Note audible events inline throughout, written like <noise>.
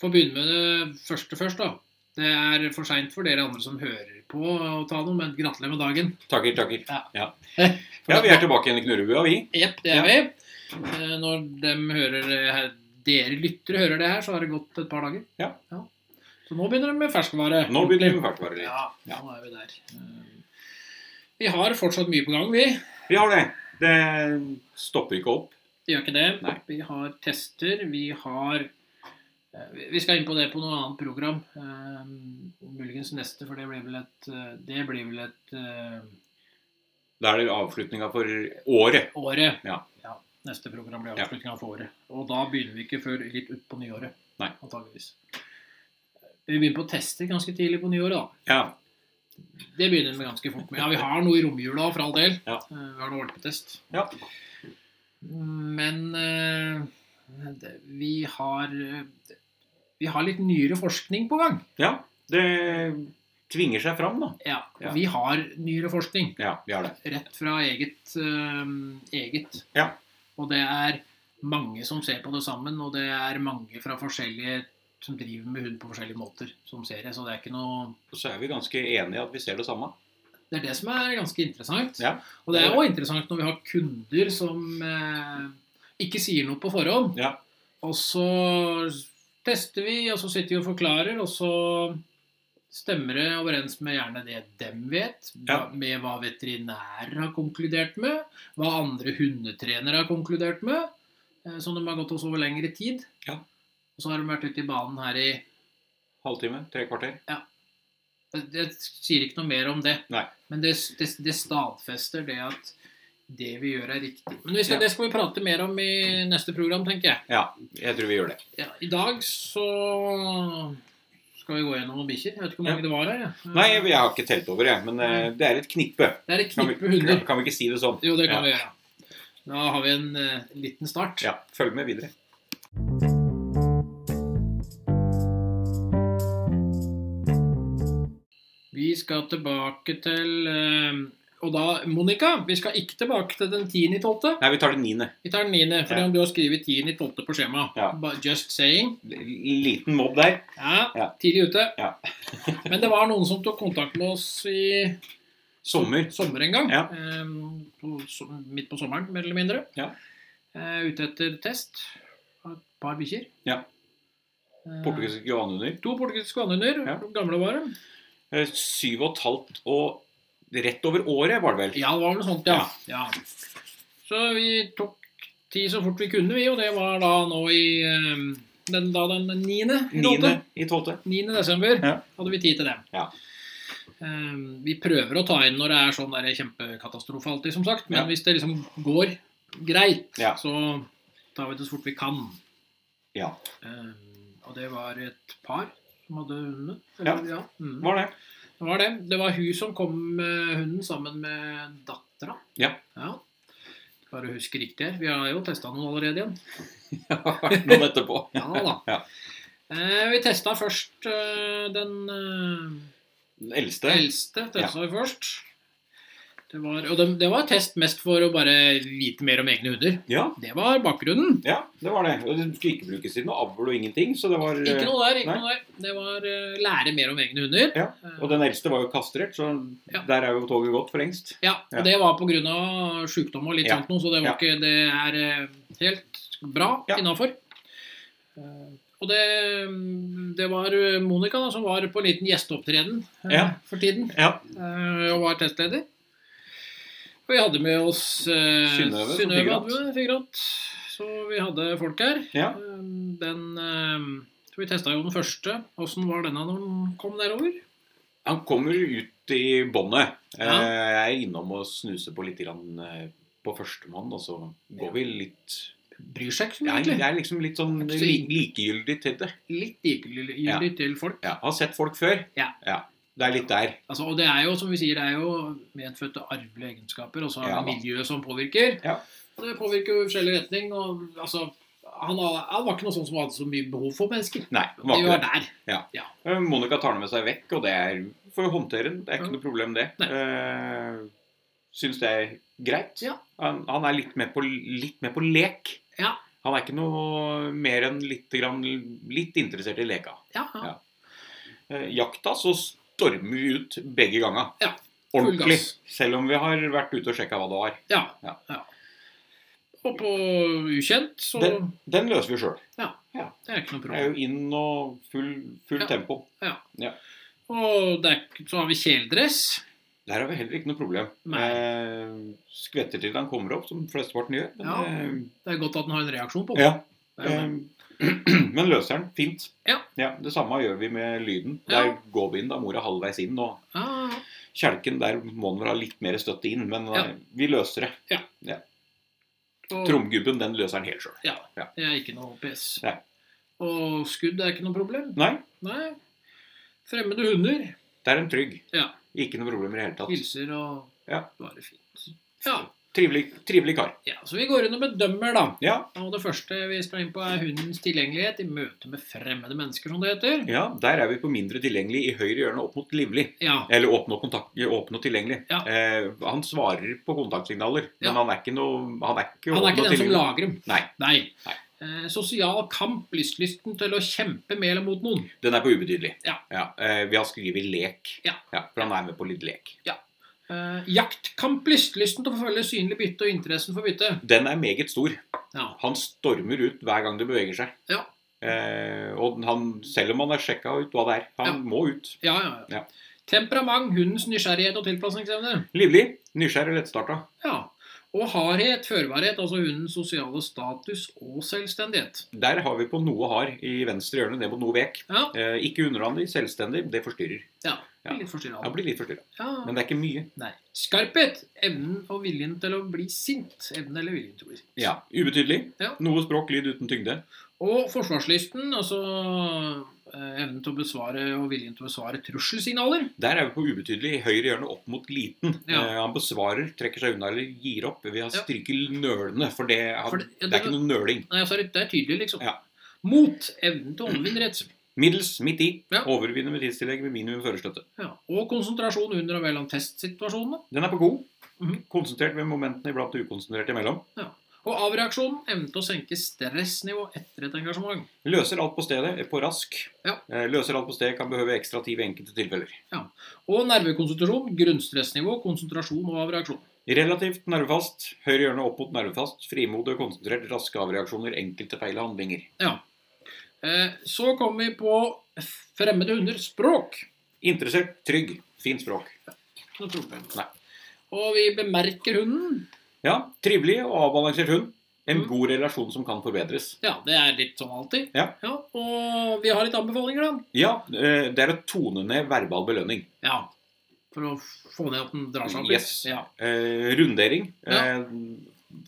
Få begynne med det første først, da. Det er for seint for dere andre som hører på å ta noe, men gratulerer med dagen. Takker, takker. Ja. Ja. Ja, vi er tilbake igjen i Knurrebua, vi. Jepp, det er vi. Eh, Når dem hører det her, dere lyttere hører det her, så har det gått et par dager. Ja. Så nå begynner de med ferskvare. Nå begynner vi med ferskvareliv. Ja, Ja. nå er vi der. Eh, Vi har fortsatt mye på gang, vi. Vi har det. Det stopper ikke opp. Vi gjør ikke det. Nei. Vi har tester. Vi har eh, vi- Vi skal inn på det på noe annet program. eh, Muligens neste, for det blir vel et eh, Det blir vel et eh, Da er det avslutninga for året. året. Ja. Neste program blir Ja. avslutninga for året. Og da begynner vi ikke før litt utpå nyåret. Nei. Antageligvis. Eh, Vi begynner på tester ganske tidlig på nyåret, da. Ja. Det begynner vi ganske fort med. Ja, vi har noe i romjula for all del. Ja. Eh, Vi har noe valpetest. Ja. Men eh, det, vi har eh, Vi har litt nyere forskning på gang. ja. Det tvinger seg fram, da. Ja. Ja. Vi har nyere forskning. Ja, vi har det. Rett fra eget. eh, eget. Ja. Og det er mange som ser på det sammen, og det er mange fra forskjellige som driver med hund på forskjellige måter, som ser det. Så det er ikke noe Og så er vi ganske enige i at vi ser det samme. Det er det som er ganske interessant. Ja. Og det er òg interessant når vi har kunder som eh, ikke sier noe på forhånd. Ja. Og så tester vi, og så sitter vi og forklarer, og så stemmer det overens med gjerne det dem vet, Ja. hva- med hva veterinærer har konkludert med, hva andre hundetrenere har konkludert med, eh, som de har gått hos over lengre tid. Ja. Og så har de vært ute i banen her i Halvtime, tre kvarter. Jeg sier ikke noe mer om det. Nei. Men det, det, det stadfester det at det vi gjør, er riktig. Men vi skal, Ja. det skal vi prate mer om i neste program, tenker jeg. Ja, jeg tror vi gjør det. Ja, I dag så skal vi gå gjennom noen bikkjer. Jeg vet ikke hvor mange det var her. jeg. Nei, jeg har ikke telt over, jeg. Men eh, det er et knippe. Det er et Kan vi, knippe hunder. kan vi ikke si det sånn? Jo, det Ja. kan vi gjøre. Da har vi en eh, liten start. Ja, følg med videre. Vi skal tilbake til eh, Og da, Monica, vi skal ikke tilbake til den 10.12. Nei, vi tar det niende. Vi tar den 9., fordi Ja. om du har skrevet 10.12. på skjemaet. Ja. Ba- Just saying. Liten mobb der. Ja, Ja. tidlig ute. Ja. <laughs> Men det var noen som tok kontakt med oss i Sommer. sommer en gang. Ja. eh, på, som- midt på sommeren, mer eller mindre. Ja. Eh, ute etter test. av Et par bikkjer. Ja. Eh, Portugisiske johanhunder. to portugisiske vannhunder. Ja. Gamle var de. Eh, Syv og et halvt og rett over året var det vel? Ja, det var vel noe sånt, ja. ja. Så vi tok ti så fort vi kunne, vi. Og det var da nå i eh, den, da den niende. i Niende Lotte. i tolvte. 9. desember Ja. hadde vi tid til dem. Ja. Ehm, vi prøver å ta inn når det er sånn der kjempekatastrofe alltid, som sagt. Men Ja. hvis det liksom går greit, Ja. så tar vi det så fort vi kan. Ja, Ehm, og det var et par som hadde hunden. Ja. Mm. <laughs> var det. Det var det. Det var hun som kom med hunden sammen med dattera. Ja. Bare husk riktig her. Vi har jo testa noen allerede igjen. Noen etterpå. Ja da. Ja. Eh, vi testa først eh, den eh, Den eldste. Eldste testa vi først. Det var, og det, det var test mest for å bare vite mer om egne hunder. Ja, Det var bakgrunnen. ja, det var det. Og det skulle ikke brukes til noe avl og ingenting, så det var eh, Ikke noe der. ikke nei. noe der. Det var eh, lære mer om egne hunder. Ja, Eh, Og den eldste var jo kastrert, så Ja. der er jo toget gått for lengst. ja, ja. og det var pga. sjukdom og litt Ja. sånt noe, så det, var Ja. ikke, det er eh, helt bra Ja. innafor. Eh, Og det, mm, det var Monica da, som var på en liten gjesteopptreden eh, Ja. for tiden. Ja, Eh, og var testleder. Og vi hadde med oss eh, Synnøve som Synnøve figurant. Adve, figurant. Så vi hadde folk her. Ja. Eh, Den eh, så Vi testa jo den første. Åssen var denne når den kom derover? Han kommer ut i båndet. Eh, Ja. Jeg er innom og snuser på litt grann eh, på førstemann, og så går vi litt Bryr seg ikke så mye, Jeg jeg egentlig. er liksom litt sånn Jeg er ikke så li- likegyldig til det. Litt likegyldig Ja. til folk. Ja, Har sett folk før. Ja. Det er litt der. Altså, og det er jo, som vi sier, det er jo medfødte arvelige egenskaper, og så er Ja, det da. miljøet som påvirker. Ja. Og det påvirker jo i forskjellig retning. Og, altså, han, han var ikke noe sånn som hadde så mye behov for mennesker. Nei, det var Vi var ikke det. der. Eh, Monica tar den med seg vekk, og det er for å håndtere den. Det er Ja. ikke noe problem, det. Nei. Eh, Syns det er greit. Ja. Han, han er litt med på, litt med på lek. Ja. Han er ikke noe mer enn litt, grann, litt interessert i leka. Ja, ja. Ja. Eh, jakta så stormer vi ut begge ganger. Ja, full Ordentlig. gass. Selv om vi har vært ute og sjekka hva det var. ja. ja. Ja. Og på ukjent, så Den, den løser vi sjøl. det er ikke noe Det er problem. jo inn og full, full Ja. tempo. Og det er, ikke- så har vi kjeledress. Der har vi heller ikke noe problem. Nei. Eh, skvetter til han kommer opp, som flesteparten gjør. Men, Ja. eh, Det er godt at den har en reaksjon på. ja. Det er jo det. Eh, <clears throat> Men løser den fint. Ja. Det samme gjør vi med lyden. Ja. Der går vi inn, da mor er halvveis inn. Og Ja, ja, ja. kjelken, der må den vel ha litt mer støtte inn, men Ja. eh, vi løser det. Og- Tromgubben, den løser den helt sjøl. Ja. Ja. Det er ikke noe PS. Nei. Og skudd er ikke noe problem. Nei, Nei. Fremmede hunder der er den trygg. Ja. Ikke noe problemer i det hele tatt. hilser og Ja. bare fint. Ja. Trivelig, trivelig kar. ja, Så vi går inn og bedømmer, da. Ja, Og det første vi skal inn på, er hundens tilgjengelighet i møte med fremmede mennesker, som det heter. ja, der er vi på mindre tilgjengelig i høyre hjørne opp mot livlig. Ja. Eller åpne og, kontakt, åpne og tilgjengelig. Ja. Eh, han svarer på kontaktsignaler, Ja. men han er ikke noe Han er ikke, Han er ikke åpen og den som tilgjengelig. lager dem. Nei. Nei. Nei. Eh, sosial kamp, lystlysten til å kjempe med eller mot noen. Den er på ubetydelig. Ja. eh, vi har skrevet lek. Ja. For han er med på litt lek. Eh, jaktkamp, lystlysten til å forfølge synlig bytte og interessen for bytte. Den er meget stor. Ja. Han stormer ut hver gang det beveger seg. Ja. Eh, og han, selv om han har sjekka ut hva det er. Han Ja. må ut. Ja, ja, ja. Ja. Temperament, hundens nysgjerrighet og tilpasningsevne. Livlig, nysgjerrig og lettstarta. Ja. Og hardhet, førbarhet, altså hundens sosiale status og selvstendighet. Der har vi på noe hard i venstre hjørne, ned mot noe vek. Ja, Eh, ikke underhandlig, selvstendig. Det forstyrrer. ja. Ja. Litt forstyrra. Han blir litt forstyrra. Ja. Men det er ikke mye. Nei. Skarphet, evnen og viljen til å bli sint. Evnen eller viljen til å bli sint. Ja, Ubetydelig. Ja. Noe språk, lyd uten tyngde. Og forsvarslysten, altså eh, evnen til å besvare og viljen til å besvare trusselsignaler. Der er vi på ubetydelig i høyre hjørne opp mot liten. Ja. Eh, han besvarer, trekker seg unna eller gir opp ved å Ja. stryke nølende, for det, han, For det, det- ja, er det- ikke noe nøling. Nei, altså, det er tydelig, liksom. Ja. Mot, evnen til å overvinne redsel. Middels, midt i. Ja. Overvinner med tidstillegg med minimum førerstøtte. Ja. Og konsentrasjon under og mellom testsituasjonene. Den er på god. Mhm. Konsentrert ved momentene iblant og ukonsentrert imellom. Og avreaksjonen, evnen til å senke stressnivå etter et engasjement. Løser alt på stedet, er på rask. Ja. Eh, Løser alt på stedet, kan behøve ekstra tid ved enkelte tilfeller. Og nervekonstitusjon, grunnstressnivå, konsentrasjon og avreaksjon. Relativt nervefast, høyre hjørne opp mot nervefast, frimodig og konsentrert, raske avreaksjoner, enkelte feil og handlinger. Eh, så kommer vi på fremmede hunder, språk. Interessert, trygg, fint språk. Ikke noe problem. Nei. Og vi bemerker hunden. Ja, trivelig og avbalansert hund. En Mm. god relasjon som kan forbedres. Ja, det er litt sånn alltid. Ja. og vi har litt anbefalinger, da. Ja, eh, det er å tone ned verbal belønning. Ja. For å få ned at den drar seg opp Yes. litt. Ja. Eh, Rundering. eh,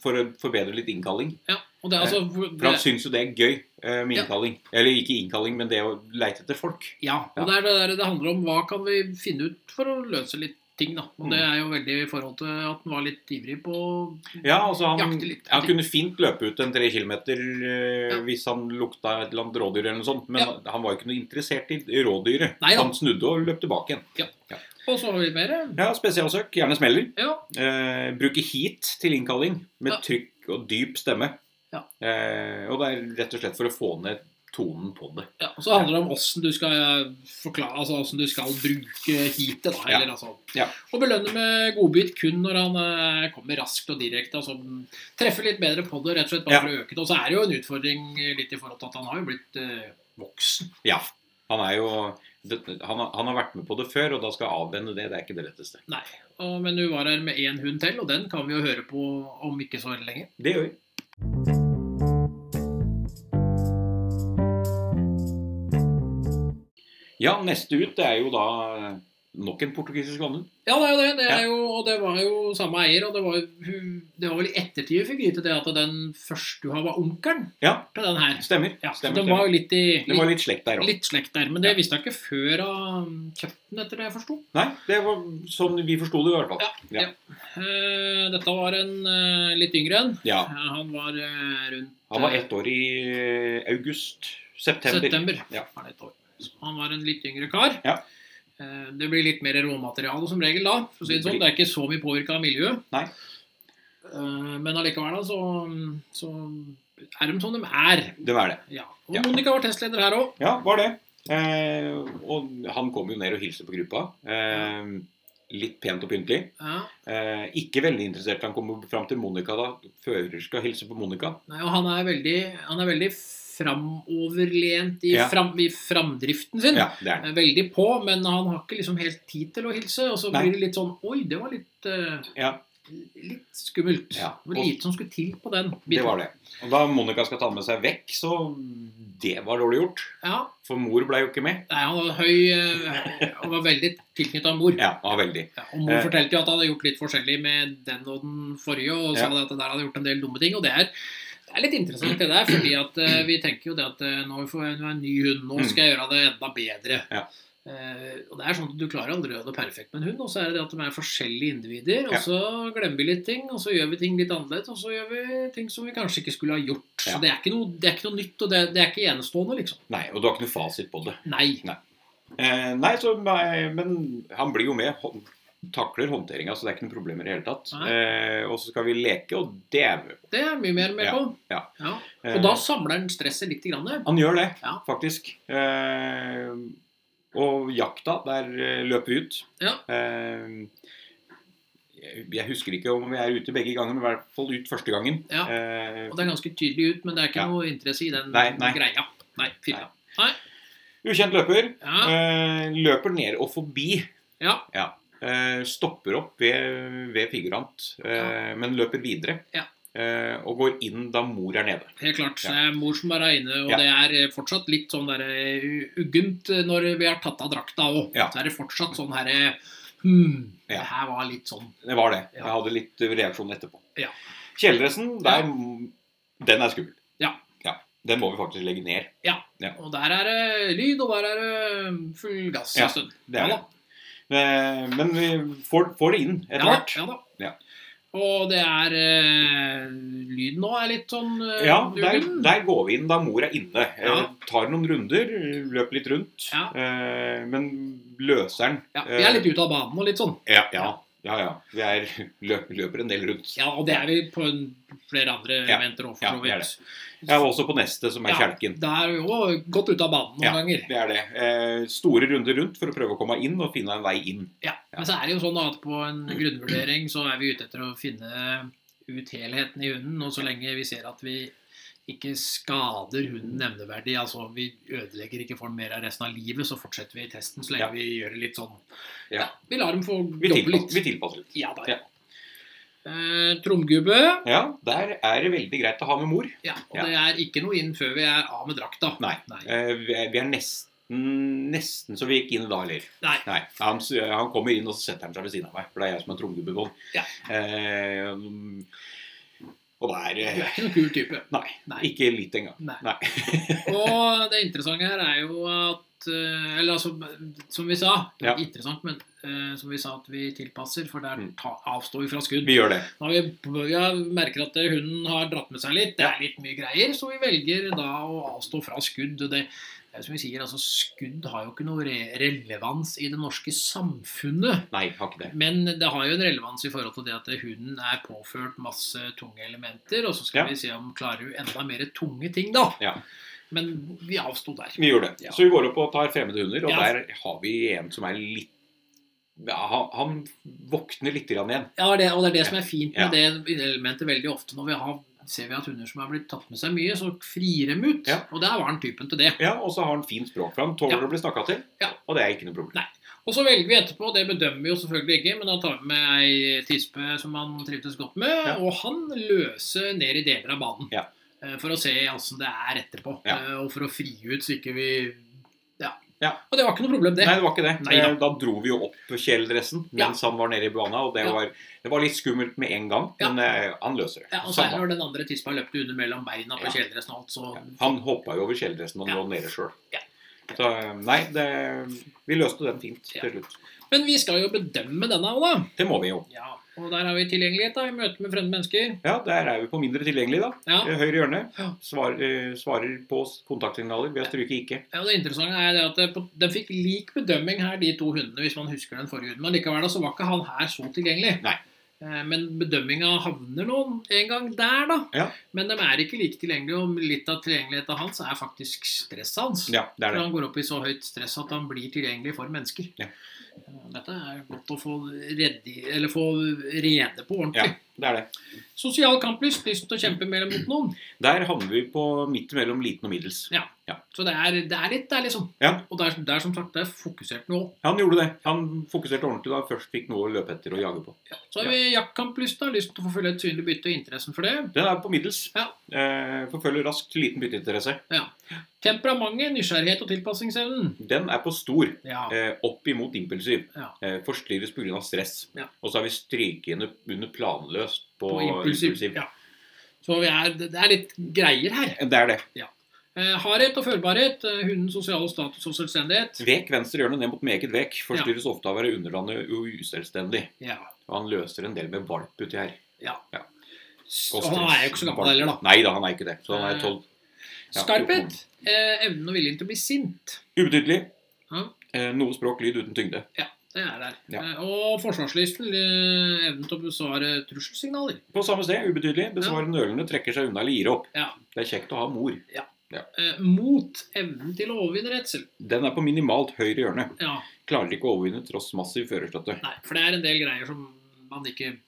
For å forbedre litt innkalling. ja. Og det er altså hvor- For han det, syns jo det er gøy eh, med Ja. innkalling. Eller ikke innkalling, men det å leite etter folk. Ja. Og det er det der det handler om hva kan vi finne ut for å løse litt ting, da. Og det Mm. er jo veldig i forhold til at han var litt ivrig på Ja, altså han, Mm. Jakte litt. han kunne fint løpe ut en tre kilometer eh, Ja. hvis han lukta et eller annet rådyr eller noe sånt, men han var jo ikke noe interessert i rådyret. Nei da. han snudde og løp tilbake igjen. Og så har vi mer. Ja, spesialsøk. Gjerne smeller. Ja. Eh, bruke heat til innkalling med Ja. trykk og dyp stemme. Ja. Eh, og det er rett og slett for å få ned tonen på det. Ja, og så handler det om åssen du skal eh, forklare, altså hvordan du skal bruke heatet. da, eller altså. Ja. Og belønne med godbit kun når han eh, kommer raskt og direkte. altså mm, Treffer litt bedre på det, rett og slett bare Ja. for å øke det. Og så er det jo en utfordring eh, litt i forhold til at han har jo blitt eh, voksen. Ja. Han er jo det, han, har, han har vært med på det før, og da skal jeg avvenne det. Det er ikke det letteste. Nei. Og, men du var her med én hund til, og den kan vi jo høre på om ikke så veldig lenge. Det gjør vi. Ja, neste ut det er jo da nok en portugisisk vannhund. Ja, det er jo det. det er Ja. jo, og det var jo samme eier. Og det var, jo- hun- det var vel i ettertid vi fikk vite det at den første du har, var onkelen Ja. til den her. Stemmer. Ja, så stemmer, den stemmer. var jo litt i Det var litt slekt der òg. Litt slekt der, men det visste jeg ikke før av kjøpten, etter det jeg forsto. Nei, det var sånn vi forsto det i hvert fall. Ja. Eh, Dette var en eh, litt yngre en. Ja. Eh, Han var eh, rundt Han var eh, ett år i eh, august. September. september. Ja. Var det et år. Så han var en litt yngre kar. Ja. Eh, Det blir litt mer råmateriale som regel da. for å si Det sånn. Det er ikke så mye påvirka av miljøet. Nei. Eh, Men allikevel, da, så, så er de som de er. Det var det. Ja. Og Ja. Monica var testleder her òg. Ja, var det. Eh, og han kom jo ned og hilste på gruppa. Eh, litt pent og pyntelig. Ja. Eh, ikke veldig interessert. Han kommer fram til Monica da. Fører skal hilse på Monica. Nei, og han er veldig, han er veldig framoverlent i, Ja. fram, i framdriften sin. Ja, det er han. Er Veldig på, men han har ikke liksom helt tid til å hilse. Og så Nei. blir det litt sånn Oi, det var litt, eh, Ja, litt skummelt. Ja, Det var og- lite som skulle til på den. det var det. Og da Monica skal ta han med seg vekk, så det var dårlig gjort. Ja, For mor ble jo ikke med. nei, Han var høy eh, og var veldig tilknytta mor. Ja, ja veldig. Ja, og mor Eh. fortalte jo at han hadde gjort litt forskjellig med den og den forrige, og sa Ja. at det der hadde gjort en del dumme ting. Og det er, det er litt interessant det der, fordi at eh, vi tenker jo det at eh, nå får jeg nå er jeg en ny hund, nå Mm. skal jeg gjøre det enda bedre. Ja. Eh, og det er sånn at Du klarer aldri å gjøre det perfekt med en hund. Og så er det det at de er forskjellige individer. Og Ja. så glemmer vi litt ting, og så gjør vi ting litt annerledes. Og så gjør vi ting som vi kanskje ikke skulle ha gjort. Ja. Så det er, ikke noe, det er ikke noe nytt, og det, det er ikke enestående, liksom. Nei, og du har ikke noe fasit på det. Nei. Eh, nei, så, nei, men han blir jo med. Hå- Takler håndteringa, så det er ikke noe problem i det hele tatt. Nei. Eh, og så skal vi leke, og det er vi. Det er mye mer med Ja, på. ja. Eh. Og da samler den stresset litt. Grann, ja. Han gjør det, Ja. faktisk. Eh, og jakta, der eh, løper vi ut. Ja. Eh, jeg jeg husker ikke om vi er ute begge ganger, men i hvert fall ut første gangen. Ja. Og Eh, det er ganske tydelig ut, men det er ikke Ja. noe interesse i den Nei, nei. greia. Nei, filla. ukjent løper. Ja, Eh, løper ned og forbi. ja, Eh, stopper opp ved, ved figurant, eh, men løper videre. Ja. Eh, og går inn da mor er nede. helt klart. Ja. Det er mor som er inne, og Ja. det er eh, fortsatt litt sånn der eh, u- uggent eh, når vi har tatt av drakta òg. Ja. Så er det fortsatt sånn herre hmm, Ja. Det her var litt sånn. Det var det. Ja. Jeg hadde litt reaksjon etterpå. Ja. Kjeledressen, der, den er skummel. Ja. Den må vi faktisk legge ned. Og der er det lyd, og der er det full gass Ja, en stund. Det er Ja det. Eh, Men vi får, får det inn etter ja, hvert. ja da. Ja. Og det er eh, Lyden nå er litt sånn eh, Ja, der, uggen. der går vi inn da mor er inne. Eh, Ja. Tar noen runder, løper litt rundt. Ja. eh, Men løser den. ja, Vi er litt ute av banen og litt sånn. Ja, ja. ja, ja. Vi er, <laughs> løper, løper en del rundt. Ja, og det er vi på en, flere andre Ja. eventer òg, for Ja, så det er vidt. Jeg var også på neste, som er Ja. kjelken. Det er jo gått ut av banen noen Ja. ganger. Det er det. Eh, store runder rundt for å prøve å komme inn og finne en vei inn. Ja. Men så er det jo sånn at på en grunnvurdering så er vi ute etter å finne ut helheten i hunden. Og så lenge vi ser at vi ikke skader hunden nevneverdig, altså vi ødelegger ikke for den mer av resten av livet, så fortsetter vi testen så lenge Ja. vi gjør det litt sånn Ja. Vi lar dem få Vi, jobbe tilpass, litt. vi tilpasser litt. Ja da. Ja. Eh, Tromgubbe. Ja, der er det veldig greit å ha med mor. Ja, og Ja. det er ikke noe inn før vi er av med drakta. Nei. Nei. Eh, vi er vi er nesten, nesten så vi gikk inn da, eller? Nei. Nei. Han, s- han kommer inn, og så setter han seg ved siden av meg. For det er jeg som er trommegubbebånd. Ja. Eh, og det Du er er eh, ikke noen kul type. Nei. Nei. Ikke litt engang. Nei. Nei. og det interessante her er jo at eh, Eller altså, som vi sa Ja. Interessant, men eh, som vi sa at vi tilpasser, for der Mm. ta, avstår vi fra skudd. Vi gjør det. Når vi, vi har- merker at hunden har dratt med seg litt, det er litt mye greier, så vi velger da å avstå fra skudd. og det det er som vi sier, altså Skudd har jo ikke noe re relevans i det norske samfunnet. Nei, har ikke det. Men det har jo en relevans i forhold til det at hunden er påført masse tunge elementer. Og så skal Ja. vi se om klarer hun enda mer tunge ting, da. Ja. Men vi avsto der. Vi gjør det. Ja. Så vi går opp og tar fremmede hunder, og Ja. der har vi en som er litt ja, han, han våkner litt grann igjen. Ja, det, og det er det som er fint med Ja. det elementet veldig ofte. Når vi har, ser vi at hunder som har blitt tatt med seg mye, så frir dem ut. Ja. Og der var han typen til det. Ja, Og så har han fint språk for han tåler Ja. å bli snakka til. Ja. Og det er ikke noe problem. Og så velger vi etterpå, det bedømmer vi jo selvfølgelig ikke, men da tar vi med ei tispe som han trivdes godt med, Ja. og han løser ned i deler av banen. Ja. Eh, For å se åssen det er etterpå, Ja. eh, og for å fri ut så ikke vi ja. Ja. Og det var ikke noe problem, det. Nei, det var ikke det. Nei da. Eh, da dro vi jo opp kjeledressen mens han var nede i bana, og det, Ja. var, det var litt skummelt med en gang, Ja. men eh, han løser det. Ja, og så er det Samme. når den andre tispa løpte under mellom beina på Ja. kjeledressen og alt, så Han hoppa jo over kjeledressen og Ja. lå nede sjøl. Ja. Så eh, nei, det, vi løste den fint Ja. til slutt. Men vi skal jo bedømme denne òg, da. Det må vi jo. Ja, og der har vi tilgjengelighet da, i møte med fremmede mennesker. Ja, der er vi på mindre tilgjengelig, da. Ja, Eh, Høyre hjørne Ja. svar, eh, svarer på s- kontaktsignaler ved å stryke ikke. ja og Det interessante er det at det på- den fikk lik bedømming her, de to hundene, hvis man husker den forrige hunden. Men likevel da, så var ikke han her så tilgjengelig. Nei. Eh, Eh, Men bedømminga havner nå en gang der, da. Ja. Men de er ikke like tilgjengelige, og litt av tilgjengeligheten hans er faktisk stresset hans. Ja, det er For det. han går opp i så høyt stress at han blir tilgjengelig for mennesker. Ja. Eh, Dette er godt å få, redde, eller få rede på Ja, ordentlig. det er det. Sosial kamplyst, lyst til å kjempe mellom mot noen. Der havner vi på midt mellom liten og middels. Så det er, det er litt der, liksom. Ja. Og det er, det er som sagt det er fokusert nå. Han gjorde det. Han fokuserte ordentlig da han først fikk noe å løpe etter og jage på. Så har vi jaktkamplyst, da. Lyst til å forfølge et synlig bytte og interessen for det. Den er på middels. Ja. Eh, forfølger raskt liten bytteinteresse. Temperamentet, nysgjerrighet og tilpassingsevnen. Den er på stor. Ja. Eh, opp imot impulsiv. Ja. Eh, forstyrres pga. stress. Ja. Og så er vi strykende under planløst på, på impulsiv. Ja. Så vi er, det er litt greier her. Det er det. Eh, hardhet og førbarhet, eh, hundens sosiale status og selvstendighet. Vek venstre hjørne ned mot meget vek. Forstyrres ofte av å være underlandet og uselvstendig. Ja. Og han løser en del med valp uti her. S- Og han er jo ikke så gammel heller, da. Nei da, han er ikke det. Så han er Eh, 12. Ja, Skarphet, eh, evnen og viljen til å bli sint. Ubetydelig. Ja. Eh, noe språk, lyd uten tyngde. Det er der. Ja. Eh, og forsvarslysten, eh, evnen til å besvare trusselsignaler. På samme sted, ubetydelig. Besvarer nølende, trekker seg unna eller gir opp. Ja. Det er kjekt å ha mor. Eh, mot, evnen til å overvinne redsel. Den er på minimalt høyre hjørne. Ja, Klarer ikke å overvinne tross massiv førerstøtte. nei, for det er en del greier som man ikke nei,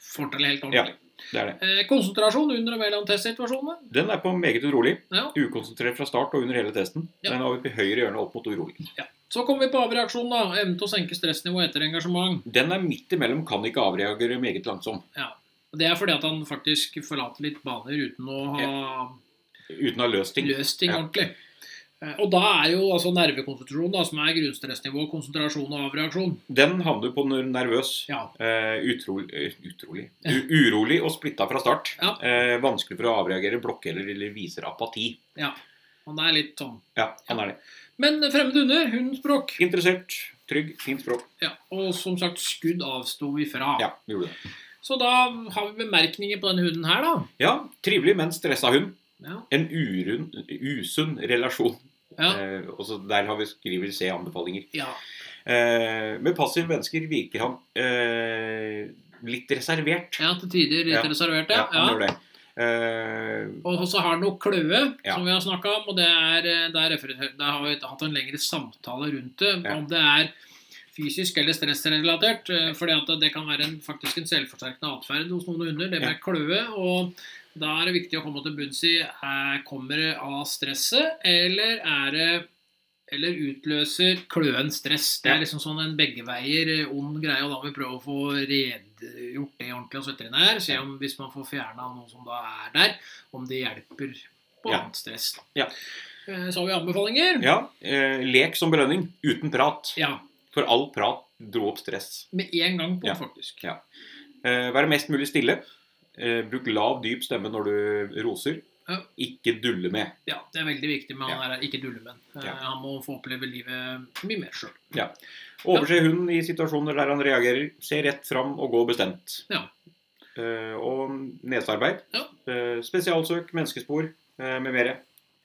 får til helt ordentlig. Det er det. Eh, konsentrasjon under og mellom testsituasjonene. Den er på meget urolig. Ja. Ukonsentrert fra start og under hele testen. Ja. Den er oppe i høyre hjørne opp mot urolig. Så kommer vi på avreaksjon, da. Evnen til å senke stressnivået etter engasjement. Den er midt imellom, kan ikke avreagere meget langsom. Det er fordi at han faktisk forlater litt baner uten å ha Uten å ha løst ting. løst ting Ja. ordentlig. Eh, Og da er jo altså nervekonsentrasjon, da, som er grunnstressnivå, konsentrasjon og avreaksjon. Den havner på ner- nervøs. Ja. Eh, utrolig, eh, utrolig. U urolig og splitta fra start. Ja. Eh, vanskelig for å avreagere, blokkerer eller viser apati. Han er litt sånn. Ja, han er det. Men fremmed hunder, hundens språk. Interessert, trygg, fint språk. Ja, og som sagt, skudd avsto vi fra. Ja, vi gjorde det. Så da har vi bemerkninger på denne hunden her, da. Ja, trivelig, men stressa hund. Ja. En urund, usunn relasjon. Ja. Eh, og så der har vi skriver C anbefalinger. ja. Eh, med passive mennesker virker han eh, litt reservert. ja til tider litt Ja. reservert, Ja, ja. han gjør det. Eh, Og så har han noe kløe, Ja. som vi har snakka om. Og det er, eh, der, referer- der har vi hatt en lengre samtale rundt det. Ja. Om det er fysisk eller stressrelatert. For det kan være en, faktisk en selvforsterkende atferd hos noen hunder, det med Ja. kløe. og da er det viktig å komme til bunns i er, kommer det av stresset, eller er det eller utløser kløen stress. Det Ja. er liksom sånn en begge veier eh, ond greie, og da må vi prøve å få redegjort det ordentlig hos veterinær. Se om hvis man får fjerna noe som da er der, om det hjelper på Ja. annet stress. da. Ja. Eh, Så har vi anbefalinger. ja, eh, lek som belønning, uten prat. Ja, For all prat dro opp stress. Med en gang på, Ja. faktisk. Ja. Eh, være mest mulig stille. Eh, bruk lav, dyp stemme når du roser. Ja. Ikke dulle med. Ja, Det er veldig viktig med han Ja. her, ikke dullemenn. Eh, Ja. Han må få oppleve livet mye mer sjøl. Overse hunden i situasjoner der han reagerer. Se rett fram og gå bestemt. Ja. Eh, og nesearbeid. Ja. Eh, spesialsøk, menneskespor eh, med mere.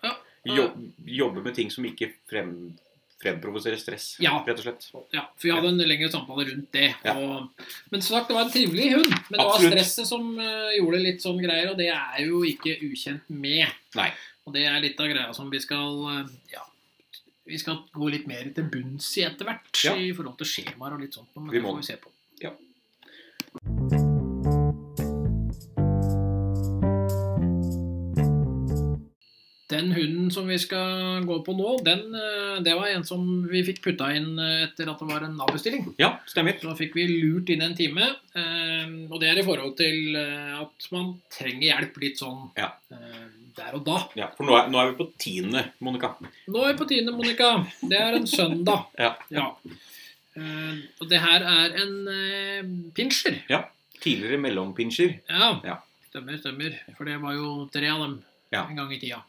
Ja. Jobb, jobbe med ting som ikke frem, fremprovoserer stress, Ja. rett og slett. Ja, for vi hadde en lengre samtale rundt det. Ja. Og, men som sagt, det var en trivelig hund. Men det var Absolutt. stresset som eh, gjorde litt sånn greier, og det er jo ikke ukjent med. Nei. Og det er litt av greia som vi skal eh, ja, vi skal gå litt mer til bunns i etter hvert, Ja. i forhold til skjemaer og litt sånt. Men Vi det må får vi se på. Ja. Den hunden som vi skal gå på nå, den, eh, det var en som vi fikk putta inn eh, etter at det var en avbestilling. Ja, stemmer. Da fikk vi lurt inn en time, eh, og det er i forhold til eh, at man trenger hjelp litt sånn Ja. eh, der og da. Ja, for nå er, nå er vi på tiende, Monica. Nå er vi på tiende, Monica. Det er en søndag. Ja. Eh, og det her er en eh, pinsjer. Tidligere mellompinsjer. Ja. Ja. Stemmer, stemmer. For det var jo tre av dem Ja. en gang i tida.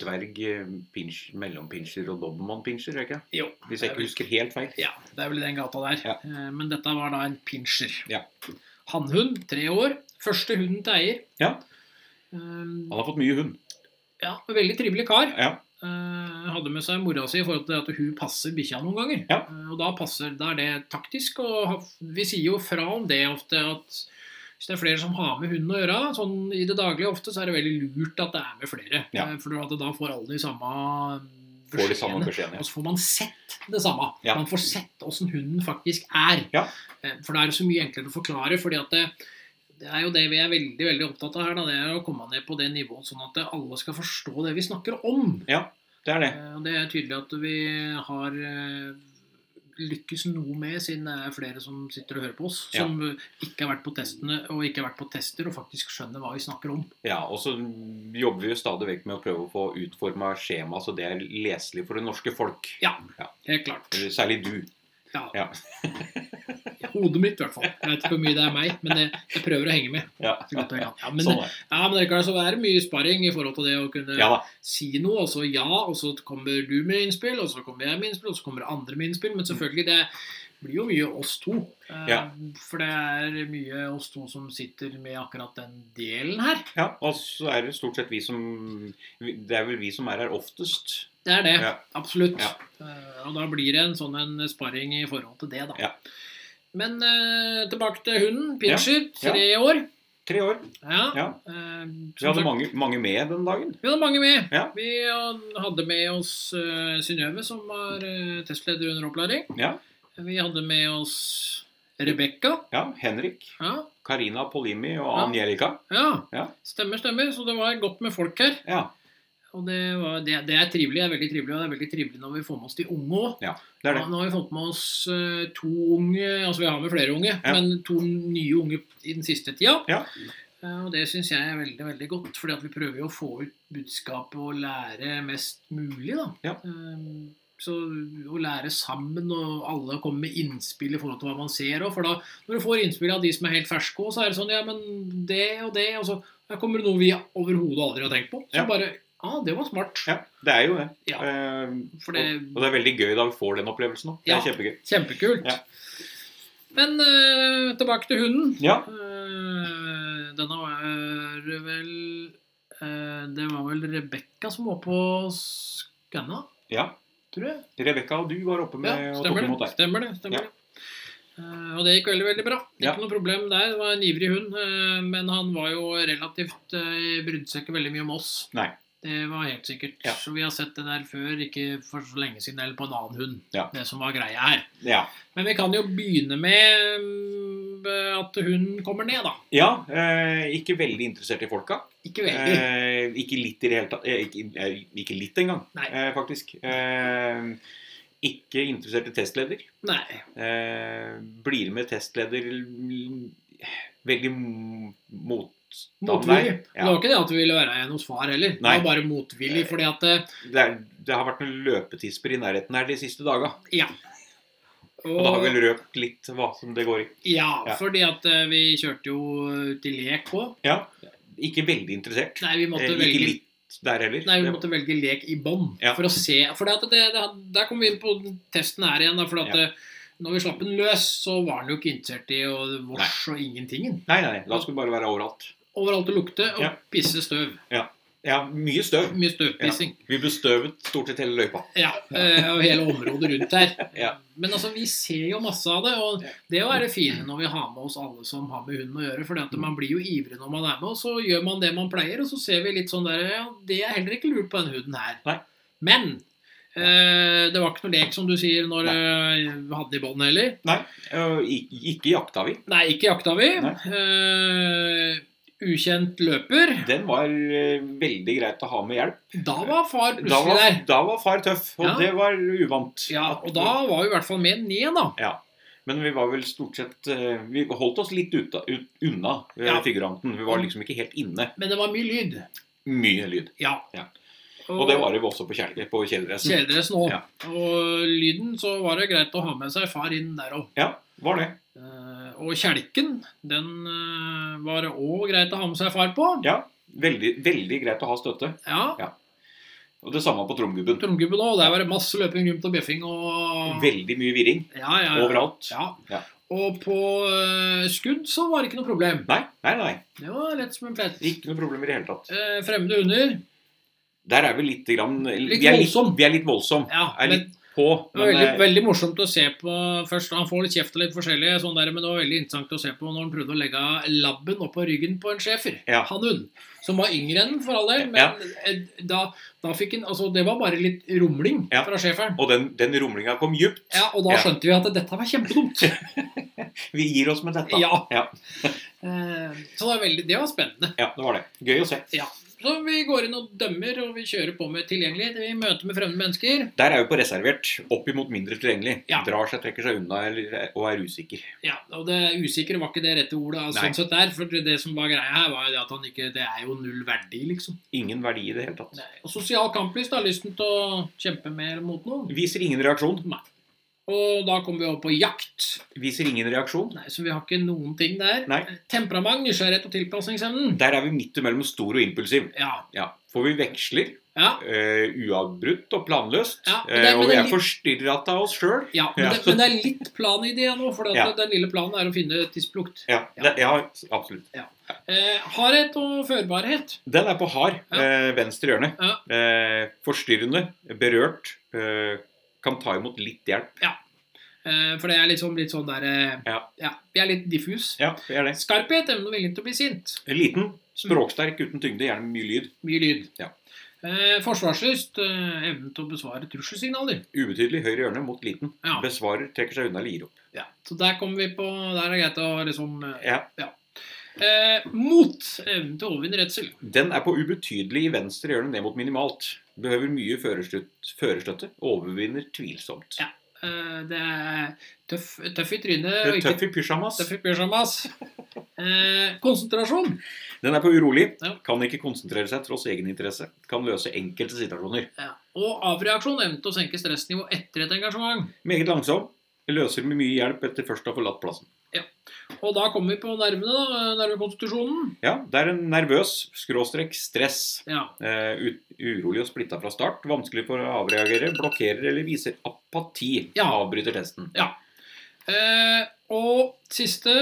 Dverg, eh, pinsj, mellompinsjer og dobbeltmannpinsjer, er det ikke? Jo. Hvis jeg Det er ikke husker helt feil. Ja, det er vel i den gata der. Ja. Eh, Men dette var da en pinsjer. Ja. Hannhund, tre år. Første hunden til eier. Ja. Eh, Han har fått mye hund. ja, veldig trivelig kar. Ja. Eh, hadde med seg mora si i forhold til at hun passer bikkja noen ganger. Ja. Eh, Og da passer, da er det taktisk. Og ha- vi sier jo fra om det ofte at hvis det er flere som har med hunden å gjøre, sånn i det daglige ofte, så er det veldig lurt at det er med flere. Ja. Eh, For at da får alle de samme Får de samme beskjedene. beskjedene. Og så får man sett det samme. Ja. Man får sett åssen hunden faktisk er. Ja. Eh, For det er så mye enklere å forklare. fordi at det, det er jo det vi er veldig veldig opptatt av her. Da, det er å komme ned på det nivået sånn at alle skal forstå det vi snakker om. Det er det. Eh, Og det er tydelig at vi har eh, lykkes noe med, siden det er flere som sitter og hører på oss, Ja. som eh, ikke har vært på testene og ikke har vært på tester, og faktisk skjønner hva vi snakker om. Ja, og så jobber vi jo stadig vekk med å prøve å få utforma skjema så det er leselig for det norske folk. Helt klart. Eller Særlig du. Ja. Ja. <laughs> Hodet mitt, i hvert fall. Jeg vet ikke hvor mye det er meg, men jeg, jeg prøver å henge med. Ja, Så godt jeg kan. Ja, men, sånn er det. Ja, men det kan altså være mye sparring i forhold til det å kunne Ja da. si noe, og så ja, og så kommer du med innspill, og så kommer jeg med innspill, og så kommer andre med innspill. Men selvfølgelig, det blir jo mye oss to. eh, Mm. Ja. For det er mye oss to som sitter med akkurat den delen her. Ja, og så er det stort sett vi som Det er vel vi som er her oftest. Det er det. Ja. Absolutt. Ja. Eh, og da blir det en sånn en sparring i forhold til det, da. Ja. Men eh, tilbake til hunden. Pinscher, tre år. Tre år. Ja. Ja. Eh, som Vi hadde sagt- mange, mange med den dagen. Vi hadde mange med. Ja. Vi hadde med oss eh, Synnøve, som var eh, testleder under opplæring. Ja. Vi hadde med oss Rebekka. ja Henrik, Ja. Karina Polimi og Angelica. ja. Ja. Stemmer, stemmer. Så det var godt med folk her. Ja. Og det, var, det, det er trivelig. Det er veldig trivelig, og det er veldig trivelig når vi får med oss de unge òg. Det er det. nå har vi fått med oss eh, to unge Altså vi har med flere unge, Ja. men to nye unge i den siste tida. Ja. Eh, og det syns jeg er veldig veldig godt, fordi at vi prøver jo å få ut budskapet og lære mest mulig. da. Ja. Eh, så Å lære sammen, og alle kommer med innspill i forhold til hva man ser. Og for da, Når du får innspill av de som er helt ferske, også, så er det sånn Ja, men det og det Og så her kommer det noe vi overhodet aldri har tenkt på. Så Ja. bare Ja, ah, det var smart. Ja, det er jo det. Ja. Eh, For det- og, og det er veldig gøy da vi får den opplevelsen òg. Det Ja. er kjempegøy. Kjempekult. Ja. Men eh, tilbake til hunden. Ja. Eh, denne var vel eh, Det var vel Rebekka som var på skanna, ja. tror jeg. Rebekka og du var oppe med og tok stemmer imot det. deg. Stemmer det, stemmer Ja. det. Eh, og det gikk veldig veldig bra. Ikke Ja. noe problem der. Det var en ivrig hund. eh, men han var jo relativt uh, brydde seg ikke veldig mye om oss. Nei. Det var helt sikkert. Ja. Så vi har sett det der før, ikke for så lenge siden, eller på en annen hund. Ja. Det som var greia her. Ja. Men vi kan jo begynne med mm, at hunden kommer ned, da. ja eh, ikke veldig interessert i folka. Ikke veldig. Eh, ikke litt i det hele tatt. Eh, ikke, eh, ikke litt engang, Nei. eh, faktisk. Eh, ikke interessert i testleder. Nei. Eh, blir med testleder l- veldig m- motstand Motvillig. der. Det var Ja. ikke det at du ville være igjen hos far heller. Nei. Det var bare motvillig, fordi at eh, Det, er, det har vært noen løpetisper i nærheten her de siste daga. Ja. Og da har vi røpt litt hva som det går i. ja, Ja. fordi at eh, vi kjørte jo ut i lek òg. Ja. Ikke veldig interessert. Nei, vi måtte Eh, ikke velge litt der heller. Nei, vi Det- måtte velge lek i bånd Ja. for å se. For det, at det, det, der kom vi inn på testen her igjen. da, For at Ja. eh, når vi slapp den løs, så var den jo ikke interessert i og vårs og ingentingen. nei, nei, nei. Da skulle det bare være overalt. Overalt å lukte og Ja. pisse støv. Ja, mye støv. Mye støvpissing. Vi bestøvet stort sett hele løypa. Ja, eh, og hele området rundt her. Ja. Men altså, vi ser jo masse av det, og det er det fine når vi har med oss alle som har med hunden å gjøre. For man blir jo ivrig når man er med, og så gjør man det man pleier, og så ser vi litt sånn der Ja, det er heller ikke lurt på den hunden her. Nei. Men eh, det var ikke noe lek, som du sier, når eh, vi hadde i bånd heller. Nei, øh, ik- ikke jakta vi. Nei, ikke jakta vi. Nei. Eh, ukjent løper. Den var øh, veldig greit å ha med hjelp. Da var far Da plutselig var, der. da var far tøff, og Ja. det var uvant. Ja, og da var vi i hvert fall med ned, da. Ja. Men vi var vel stort sett øh, Vi holdt oss litt uta, ut, unna øh, Ja. figuranten. Vi var liksom ikke helt inne. Men det var mye lyd. Mye lyd. Ja. Ja. Og det var det også på, kjel- på kjeledressen. kjeledress nå. Ja. Og lyden, så var det greit å ha med seg far inn der òg. Ja, var det. Og kjelken, den eh, var det òg greit å ha med seg far på. Ja. Veldig, veldig greit å ha støtte. Ja. Og det samme på tromgubben. Tromgubben òg. Der var det masse løping, rymt og bjeffing og Veldig mye virring ja, ja, ja. overalt. Ja. Ja. Og på eh, skudd så var det ikke noe problem. Nei, nei, nei. Det var lett som en flett. Ikke noe problemer i det hele tatt. Eh, fremmede hunder Der er vi litt grann, Litt vi er voldsom. Vi er litt voldsom. Ja, er men litt på. det var Men, veldig, eh, veldig morsomt å se på først. Han får litt kjeft og litt forskjellig, sånn der, men det var veldig interessant å se på når han prøvde å legge labben oppå ryggen på en schæfer. Ja. Han hun, som var yngre enn for all del. Men Ja. eh, da, da fikk han Altså, det var bare litt rumling Ja. fra schæferen. og den, den rumlinga kom djupt. Ja, og da Ja. skjønte vi at dette var kjempedumt. Vi gir oss med dette. Ja. <laughs> Ja. <laughs> Eh, Så det var, veldig, det var spennende. Ja, det var det. Gøy å se. Så vi går inn og dømmer, og vi kjører på med tilgjengelighet i møte med fremmede mennesker. Der er vi på reservert. Opp imot mindre tilgjengelig. Ja. Drar seg, trekker seg unna eller, og er usikker. Ja, og det usikre var ikke det rette ordet. Altså, Nei. sånn sett der, for det som var greia her, var jo det at han ikke Det er jo null verdi, liksom. Ingen verdi i det hele tatt. Nei. Og sosial kamplyst har lysten til å kjempe mer mot noen. Viser ingen reaksjon. Og da kommer vi over på jakt. Viser ingen reaksjon. Nei, Så vi har ikke noen ting der. Nei. Temperament, nysgjerrighet og tilpasningsevnen. Der er vi midt imellom stor og impulsiv. Ja. Ja. For vi veksler ja. eh, uavbrutt og planløst. Ja, men det- eh, men og vi det er er litt- forstyrra av oss sjøl. ja. Men, Ja. Det, men det er litt plan i det nå, for at Ja. den lille planen er å finne tidslukt. Ja, det, ja, absolutt. Eh, hardhet og førbarhet. Den er på hard, Ja. eh, venstre hjørne. Ja. Eh, forstyrrende, berørt. Eh, kan ta imot litt hjelp. Eh, for det er liksom litt sånn der eh, Ja. Vi er litt diffus. Ja, det er det. Skarphet, evne og vilje til å bli sint. Liten, språksterk, uten tyngde, gjerne mye lyd. Mye lyd. Ja. Eh, forsvarslyst, eh, evnen til å besvare trusselsignaler. Ubetydelig høyre hjørne mot liten. Ja. Besvarer, trekker seg unna eller gir opp. ja. Så der kommer vi på Der er det greit å liksom eh, Ja. eh, Mot, evnen til å overvinne redsel. Den er på ubetydelig i venstre hjørne ned mot minimalt. Behøver mye førerstøt- førerstøtte. Overvinner tvilsomt. Ja. Eh, det er tøff, tøff i trynet og ikke Tøff i pysjamas. tøff i pyjamas. Eh, konsentrasjon. Den er på urolig. Ja. Kan ikke konsentrere seg tross egeninteresse. Kan løse enkelte situasjoner. Ja. Og avreaksjon, evnen til å senke stressnivå etter et engasjement. Meget langsom. Løser med mye hjelp etter først å ha forlatt plassen. Og da kommer vi på nervene, da. eh, Nervekonstitusjonen. Ja, det er en nervøs skråstrek stress. Ja. Eh, ut, urolig og splitta fra start. Vanskelig for å avreagere. Blokkerer eller viser apati. Ja. Avbryter testen. Eh, og siste,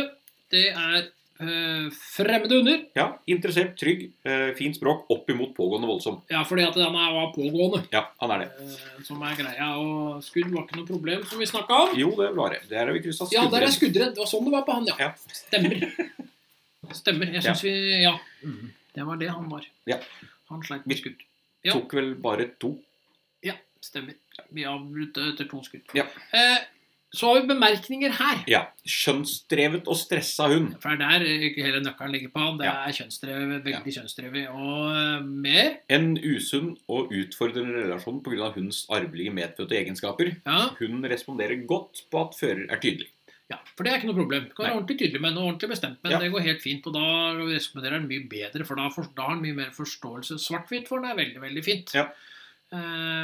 det er eh, fremmede hunder. Ja, interessert, trygg, eh, fint språk. Opp imot pågående voldsom. Ja, fordi at den er var pågående. Ja, han er det. eh, Som er greia. Og skudd var ikke noe problem, som vi snakka om. Jo, det var det. Der har vi kryssa Ja, der er skuddredd. Det var sånn det var på han, ja. Ja. Stemmer. Stemmer. Jeg syns vi Ja. Mhm. Det var det han var. Ja. Han sleit Vi- med skudd. ja. Tok vel bare to. Stemmer. Vi avbrøt etter to skudd. Ja. Eh, så har vi bemerkninger her. Ja. Skjønnsdrevet og stressa hund. For det er der ikke hele nøkkelen ligger på. Det Ja. er kjønnsdrevet, veldig kjønnsdrevet. Og eh, mer En usunn og utfordrende relasjon pga. hundens arvelige medfødte egenskaper. ja. Hunden responderer godt på at fører er tydelig. ja. For det er ikke noe problem. Du kan være Nei. ordentlig tydelig med den og ordentlig bestemt med den. Ja. Det går helt fint. Og da responderer den mye bedre, for da, for, da har den mye mer forståelse. Svart-hvitt for den er veldig, veldig fint. Ja. Eh,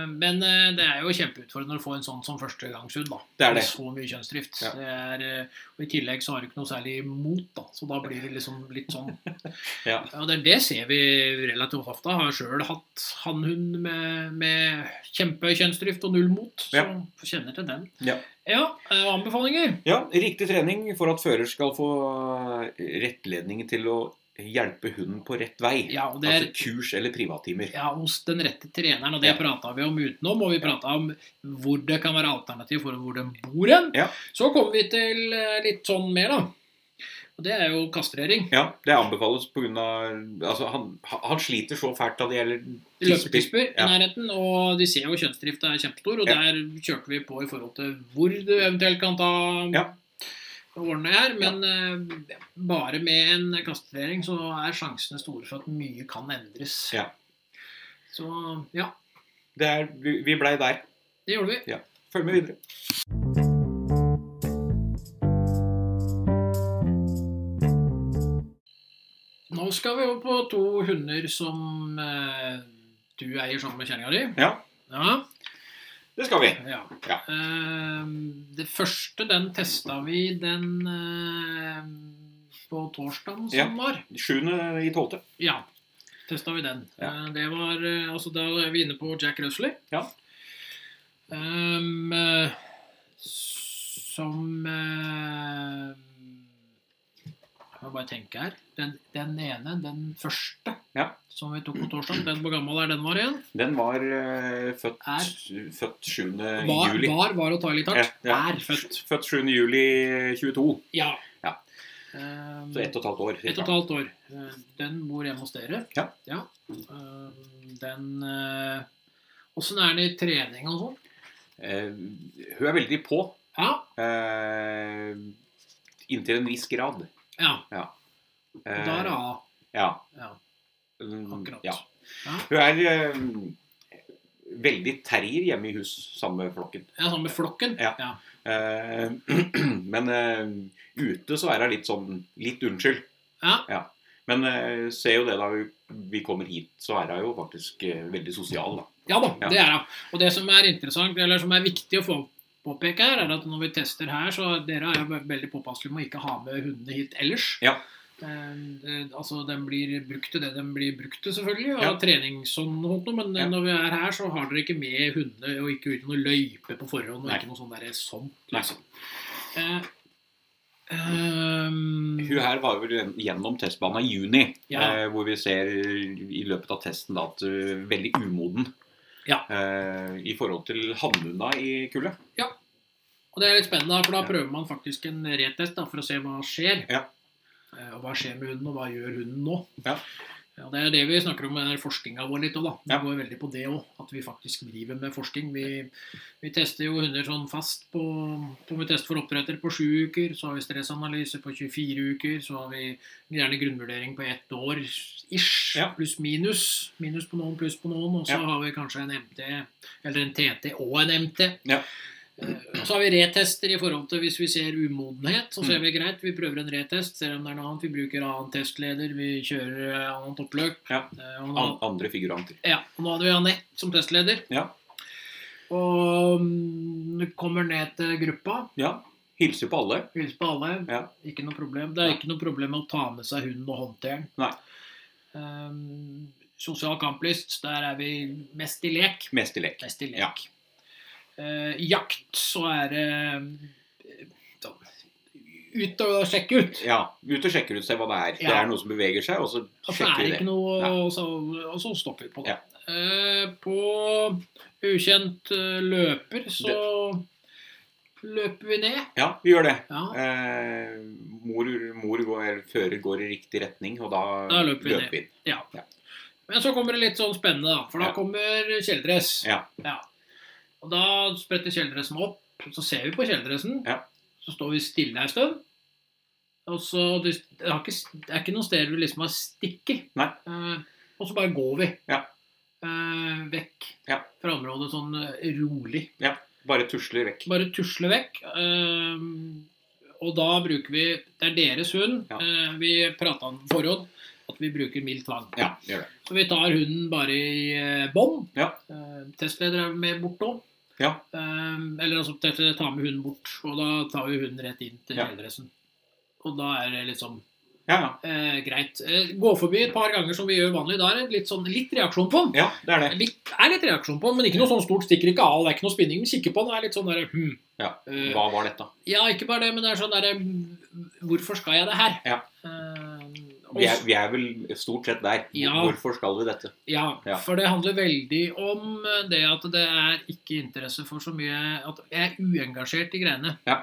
men eh, det er jo kjempeutfordrende å få en sånn som førstegangshund. da Det er det. Så mye kjønnsdrift. Ja. Det er, eh, og I tillegg så har du ikke noe særlig mot, da. Så da blir det liksom litt sånn <laughs> Ja. Ja, og det, det ser vi relativt ofte. Har sjøl hatt hannhund med, med kjempehøy kjønnsdrift og null mot. Så Ja. kjenner til den. Ja. Ja, eh, anbefalinger. Ja, Riktig trening for at fører skal få rettledning til å hjelpe hunden på rett vei. Ja, og det er Altså kurs eller privattimer. ja, hos den rette treneren, og det Ja. prata vi om utenom. Og vi prata om hvor det kan være alternativ for hvor den bor hen. Ja. Så kommer vi til eh, litt sånn mer, da. Og det er jo kastrering. Ja, det anbefales pga. Altså, han, han sliter så fælt av det gjelder tisper. Løpetisper i Ja. nærheten, og de ser jo kjønnsdrift er kjempestor. Og Ja. der kjørte vi på i forhold til hvor du eventuelt kan ta Ja. årene her. Men eh, bare med en kastrering så er sjansene store for at mye kan endres. Ja. Så ja, Det er, vi vi blei der. det gjorde vi. Følg med videre. Nå skal vi over på to hunder som eh, du eier sammen med kjerringa di. Ja, Ja. det skal vi. Ja. Ja. Ehm, det første, den testa vi den ehm, på torsdagen som Ja. var. Sjuende i tolvte. Ja. Testa vi den. Ja. Eh, det var eh, Altså, da er vi inne på Jack Rusley. Ja. Ehm, eh, som eh, må bare tenke her. Den, den ene, den første Ja. som vi tok på torsdag, den hvor gammel er den var igjen? Den var eh, født, Er- født 7. Var, Eh, juli. var, var å ta i litt hardt. Ja, ja. Er født. Født 7. juli 22. Ja. Ja. Ehm, Så ett og et halvt år. et og et halvt år. Eh, Den bor hjemme hos dere. Ja. Ehm, Den Åssen er den i trening og sånn? Eh, hun er veldig på. Ja. Eh, inntil en viss grad. ja. Eh, Og da er det A. Ja. Ja. Mm, Akkurat. Ja. Ja. Hun er eh, veldig terrier hjemme i hus sammen med flokken. Ja, Sammen med flokken? Ja. Eh, <clears throat> men eh, ute så er hun litt sånn litt unnskyld. Ja. Men eh, ser jo det da vi, vi kommer hit, så er hun jo faktisk eh, veldig sosial, da. Ja da, Ja. det er det. Og det som er interessant, eller som er viktig å få påpeke her, er at når vi tester her, så dere er jo ve- veldig påpasselige med å ikke ha med hundene hit ellers. Ja. Eh, det- altså, Den blir brukt til det den blir brukt til, selvfølgelig, og Ja. trening sånn og sånt, men eh, Ja. når vi er her, så har dere ikke med hundene og ikke ut i noen løype på forhånd, og Nei. ikke noe sånn derre sånn. Nei. Liksom. Eh, ehm, Hun her var jo gjennom testbanen i juni, Ja. eh, hvor vi ser i løpet av testen da, at hun er veldig umoden Ja. eh, i forhold til hannhunda i kullet. Og det er litt spennende, for da Ja. prøver man faktisk en retest da, for å se hva skjer. Ja. Eh, Og hva skjer med hunden, og hva gjør hunden nå? Ja. Ja, det er det vi snakker om med forskninga vår litt òg, da. Vi Ja. går veldig på det òg, at vi faktisk driver med forskning. Vi, vi tester jo hunder sånn fast på, på Vi tester for oppdretter på sju uker, så har vi stressanalyse på 24 uker, så har vi gjerne grunnvurdering på ett år ish, Ja. pluss minus. Minus på noen, pluss på noen, og så Ja. har vi kanskje en MT, eller en TT og en MT. Ja. Eh, Så har vi retester i forhold til hvis vi ser umodenhet. Så ser Mm. vi greit, vi prøver en retest, ser om det er noe annet. Vi bruker annen testleder, vi kjører eh, annet oppløp. Ja. Eh, Og nå, An andre figuranter. ja, og nå hadde vi Anette som testleder. Ja. Og mm, du kommer ned til gruppa. Ja. Hilser på alle. Hilser på alle. Ja. Ikke noe problem. Det er Nei. ikke noe problem med å ta med seg hunden og håndtere den. Nei. Ehm, sosial kamplyst, der er vi mest i lek. Mest i lek. Mest i lek. Eh, jakt, så er det eh, sånn, Ut og sjekke ut. Ja. Ute og sjekker ut, ser hva det er. Det Ja. er noe som beveger seg, og så At det sjekker Altså, er vi ikke det. noe, Ja. og så, og så stopper vi på det. Eh, på ukjent eh, løper så løper vi ned. Ja, vi gjør det. Ja, Eh, mor mor går, fører går i riktig retning, og da, Da løper vi ned. vi inn. Men så kommer det litt sånn spennende, da. For da Ja. kommer kjeledress. Ja. Og da spretter kjeledressen opp. Så ser vi på kjeledressen. Ja. Så står vi stille ei stund. Og så Det det har ikke, det er ikke noen steder du liksom har stikker. Nei. Eh, og så bare går vi. Ja. Eh, vekk Ja. fra området sånn eh, rolig. Bare tusler vekk. Bare tusle vekk. ehm, og da bruker vi Det er deres hund. Ja. eh, vi prata om forhånd at vi bruker mild tvang. Ja, gjør det. Så vi tar hunden bare i eh, bånd. Ja. Eh, testleder er med bort òg. Ja. eller altså testleder tar med hunden bort, og da tar vi hunden rett inn til Ja. kjeledressen. Og da er det liksom Ja, ja. eh, greit. Eh, gå forbi et par ganger som vi gjør vanlig. Da er det litt, sånn, litt reaksjon på den. ja det er det. Litt, er litt reaksjon på den, men ikke noe sånn stort stikker ikke av. Det er ikke noe spinning, men kikker på den. Det er litt sånn der, hmm. Ja. Eh, Hva var dette? ja, ikke bare det, men det er sånn derre Hvorfor skal jeg det her? Ja. Eh, og Vi er, vi er vel stort sett der. Hvor- Ja. Hvorfor skal vi dette? Ja, Ja. for det handler veldig om eh, det at det er ikke interesse for så mye At jeg er uengasjert i greiene. Ja.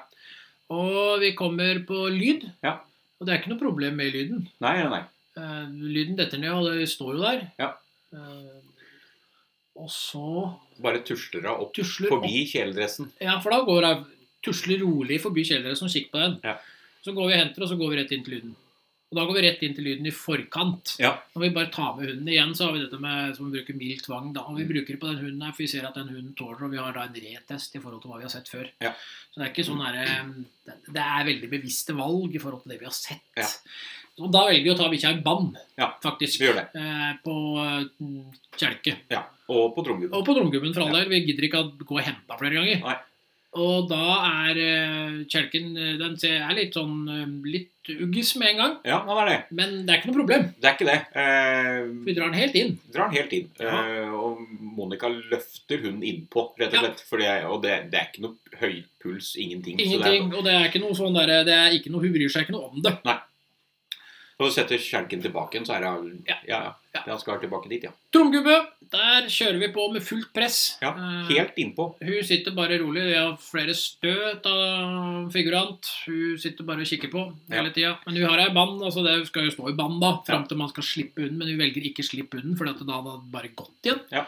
Og vi kommer på lyd. Ja. Og det er ikke noe problem med lyden. Nei, nei, nei. Eh, lyden detter ned, og det står jo der. Ja. Eh, og så Bare tusler hun opp tusler opp forbi kjeledressen. Ja, for da går jeg tusler rolig forbi kjeledressen og kikker på den. Ja. Så går vi og henter, og så går vi rett inn til lyden. Og da går vi rett inn til lyden i forkant. Ja. Når vi bare tar med hunden igjen, så har vi dette med som vi bruker mild tvang. da, og Mm. Vi bruker det på den hunden her, for vi ser at den hunden tåler, og vi har da en retest i forhold til hva vi har sett før. Ja. Så det er ikke sånn her, eh, Det er veldig bevisste valg i forhold til det vi har sett. Ja. Og da velger vi å ta bikkja i bånd, Ja, faktisk. Vi gjør det. Eh, på eh, kjelke. Ja. Og på trommegubben. Og på tromgubben for all del. Vi gidder ikke å gå og hente den flere ganger. Nei. Og da er eh, kjelken eh, Den ser- er litt sånn eh, litt uggis med en gang. Ja, han er det. Men det er ikke noe problem. Det er ikke det. Eh, Vi drar den helt inn. drar den helt inn. Ja. Eh, og Monica løfter hunden innpå, rett og Ja. slett. For det, og det, det er ikke noe høy puls, ingenting. Så det er- Ingenting. Og det er ikke noe sånn derre Det er ikke noe Hun bryr seg ikke noe om det. Nei. Når du setter skjelken tilbake igjen, så er det Ja, ja. ja. Den skal tilbake dit, ja. Tromgubbe, der kjører vi på med fullt press. ja. Eh, Helt innpå. Hun sitter bare rolig. Vi har flere støt av figurant. Hun sitter bare og kikker på hele tida. Men hun har ei band. altså det skal jo stå i band da, fram til man skal slippe hunden. Men hun velger ikke slippe hunden, for da hadde han bare gått igjen. Ja.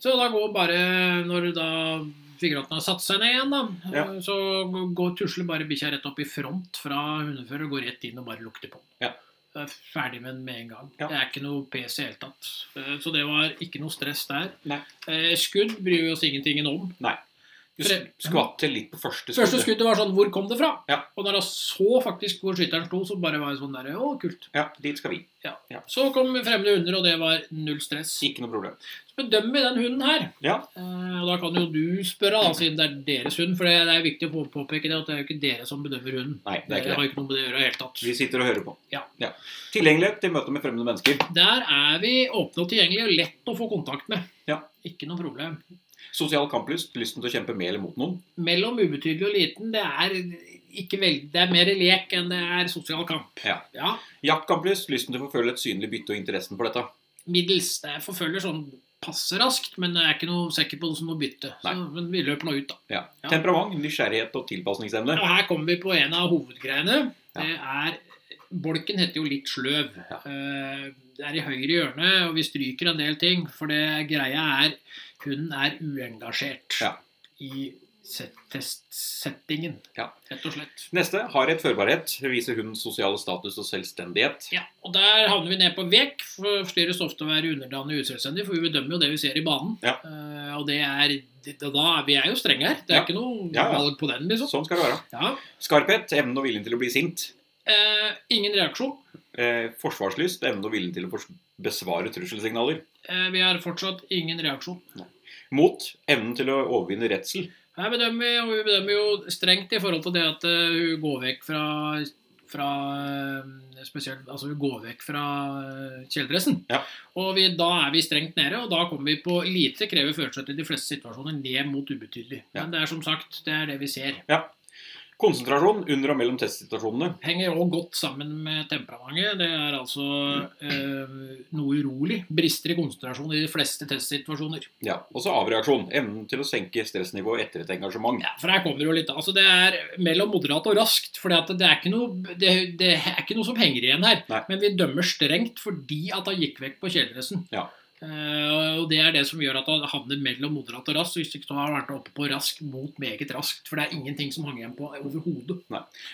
Så da går bare Når da figuranten har satt seg ned igjen, da, Ja. så går tusler bare bikkja rett opp i front fra hundefører og går rett inn og bare lukter på. Ja. Det er Ferdig med den med en gang. Ja. Det er ikke noe pes i hele tatt. Eh, Så det var ikke noe stress der. Nei. Eh, Skudd bryr vi oss ingenting om. Du Fre- sk- skvatter litt på første skuddet. Første skuddet var sånn Hvor kom det fra? Ja. Og når jeg så faktisk hvor skytteren sto, så bare var jeg sånn der Å, kult. Ja, dit skal vi. Så kom fremmede hunder, og det var null stress. Ikke noe problem. Så bedømmer vi den hunden her. Ja. Eh, og da kan jo du spørre, da, siden det er deres hund. For det det er viktig å på- påpeke det, at det er jo ikke dere som bedømmer hunden. Nei, det er Dere ikke det. har jo ikke noe med det å gjøre i det hele tatt. Vi sitter og hører på. Ja. Tilgjengelighet til møte med fremmede mennesker. Der er vi åpne og tilgjengelige og lett å få kontakt med. Ja. Ikke noe problem. Sosial kamplyst. Lysten til å kjempe med eller mot noen. Mellom ubetydelig og liten, det er ikke veldig Det er mer lek enn det er sosial kamp. Ja. ja. Jaktkamplyst. Lysten til å forfølge et synlig bytte og interessen for dette. middels. Det forfølger sånn passe raskt, men jeg er ikke noe sikker på det som noe bytte. Så, Nei. men vi løper nå ut, da. Ja. Ja. Temperament. Nysgjerrighet og tilpasningsevne. Og her kommer vi på en av hovedgreiene. Ja. Det er Bolken heter jo litt sløv. Ja. Eh, Det er i høyre hjørne, og vi stryker en del ting. For det greia er hunden er uengasjert Ja. i set- testsettingen, Ja. rett og slett. Neste har et førbarhet. Viser hundens sosiale status og selvstendighet. Ja, og Der havner vi ned på vek. Forstyrres ofte å være underdanig og uselvstendig, for vi bedømmer jo det vi ser i banen. Ja. Eh, og det er, det, da, Vi er jo strenge her. Det er Ja. ikke noe Ja, ja. valg på den, liksom. Sånn skal det være. Ja. Skarphet. Evnen og viljen til å bli sint. Eh, ingen reaksjon. Eh, forsvarslyst. Evnen og viljen til å fors- besvare trusselsignaler. Eh, vi har fortsatt ingen reaksjon. Mot. Evnen til å overvinne redsel. Her bedømmer vi, og vi eh, bedømmer jo strengt i forhold til det at eh, hun går vekk fra, fra eh, spesielt, altså hun går vekk fra eh, kjeledressen. Ja. Og vi, da er vi strengt nede, og da kommer vi på lite krever følelser til de fleste situasjoner ned mot ubetydelig. Ja. Men det er som sagt, det er det vi ser. Konsentrasjon under og mellom testsituasjonene. Henger òg godt sammen med temperamentet. Det er altså Mm. eh, noe urolig. Brister i konsentrasjon i de fleste testsituasjoner. Ja, Og så avreaksjon. Evnen til å senke stressnivået etter et engasjement. Ja, for her kommer det jo litt Altså, det er mellom moderat og raskt. For det, er ikke noe- det, det er ikke noe som henger igjen her. Nei. Men vi dømmer strengt fordi at han gikk vekk på kjeledressen. Ja. Eh, og det er det som gjør at han havner mellom moderat og raskt. Hvis ikke så har han vært oppe på rask mot meget raskt. For det er ingenting som hang igjen på overhodet.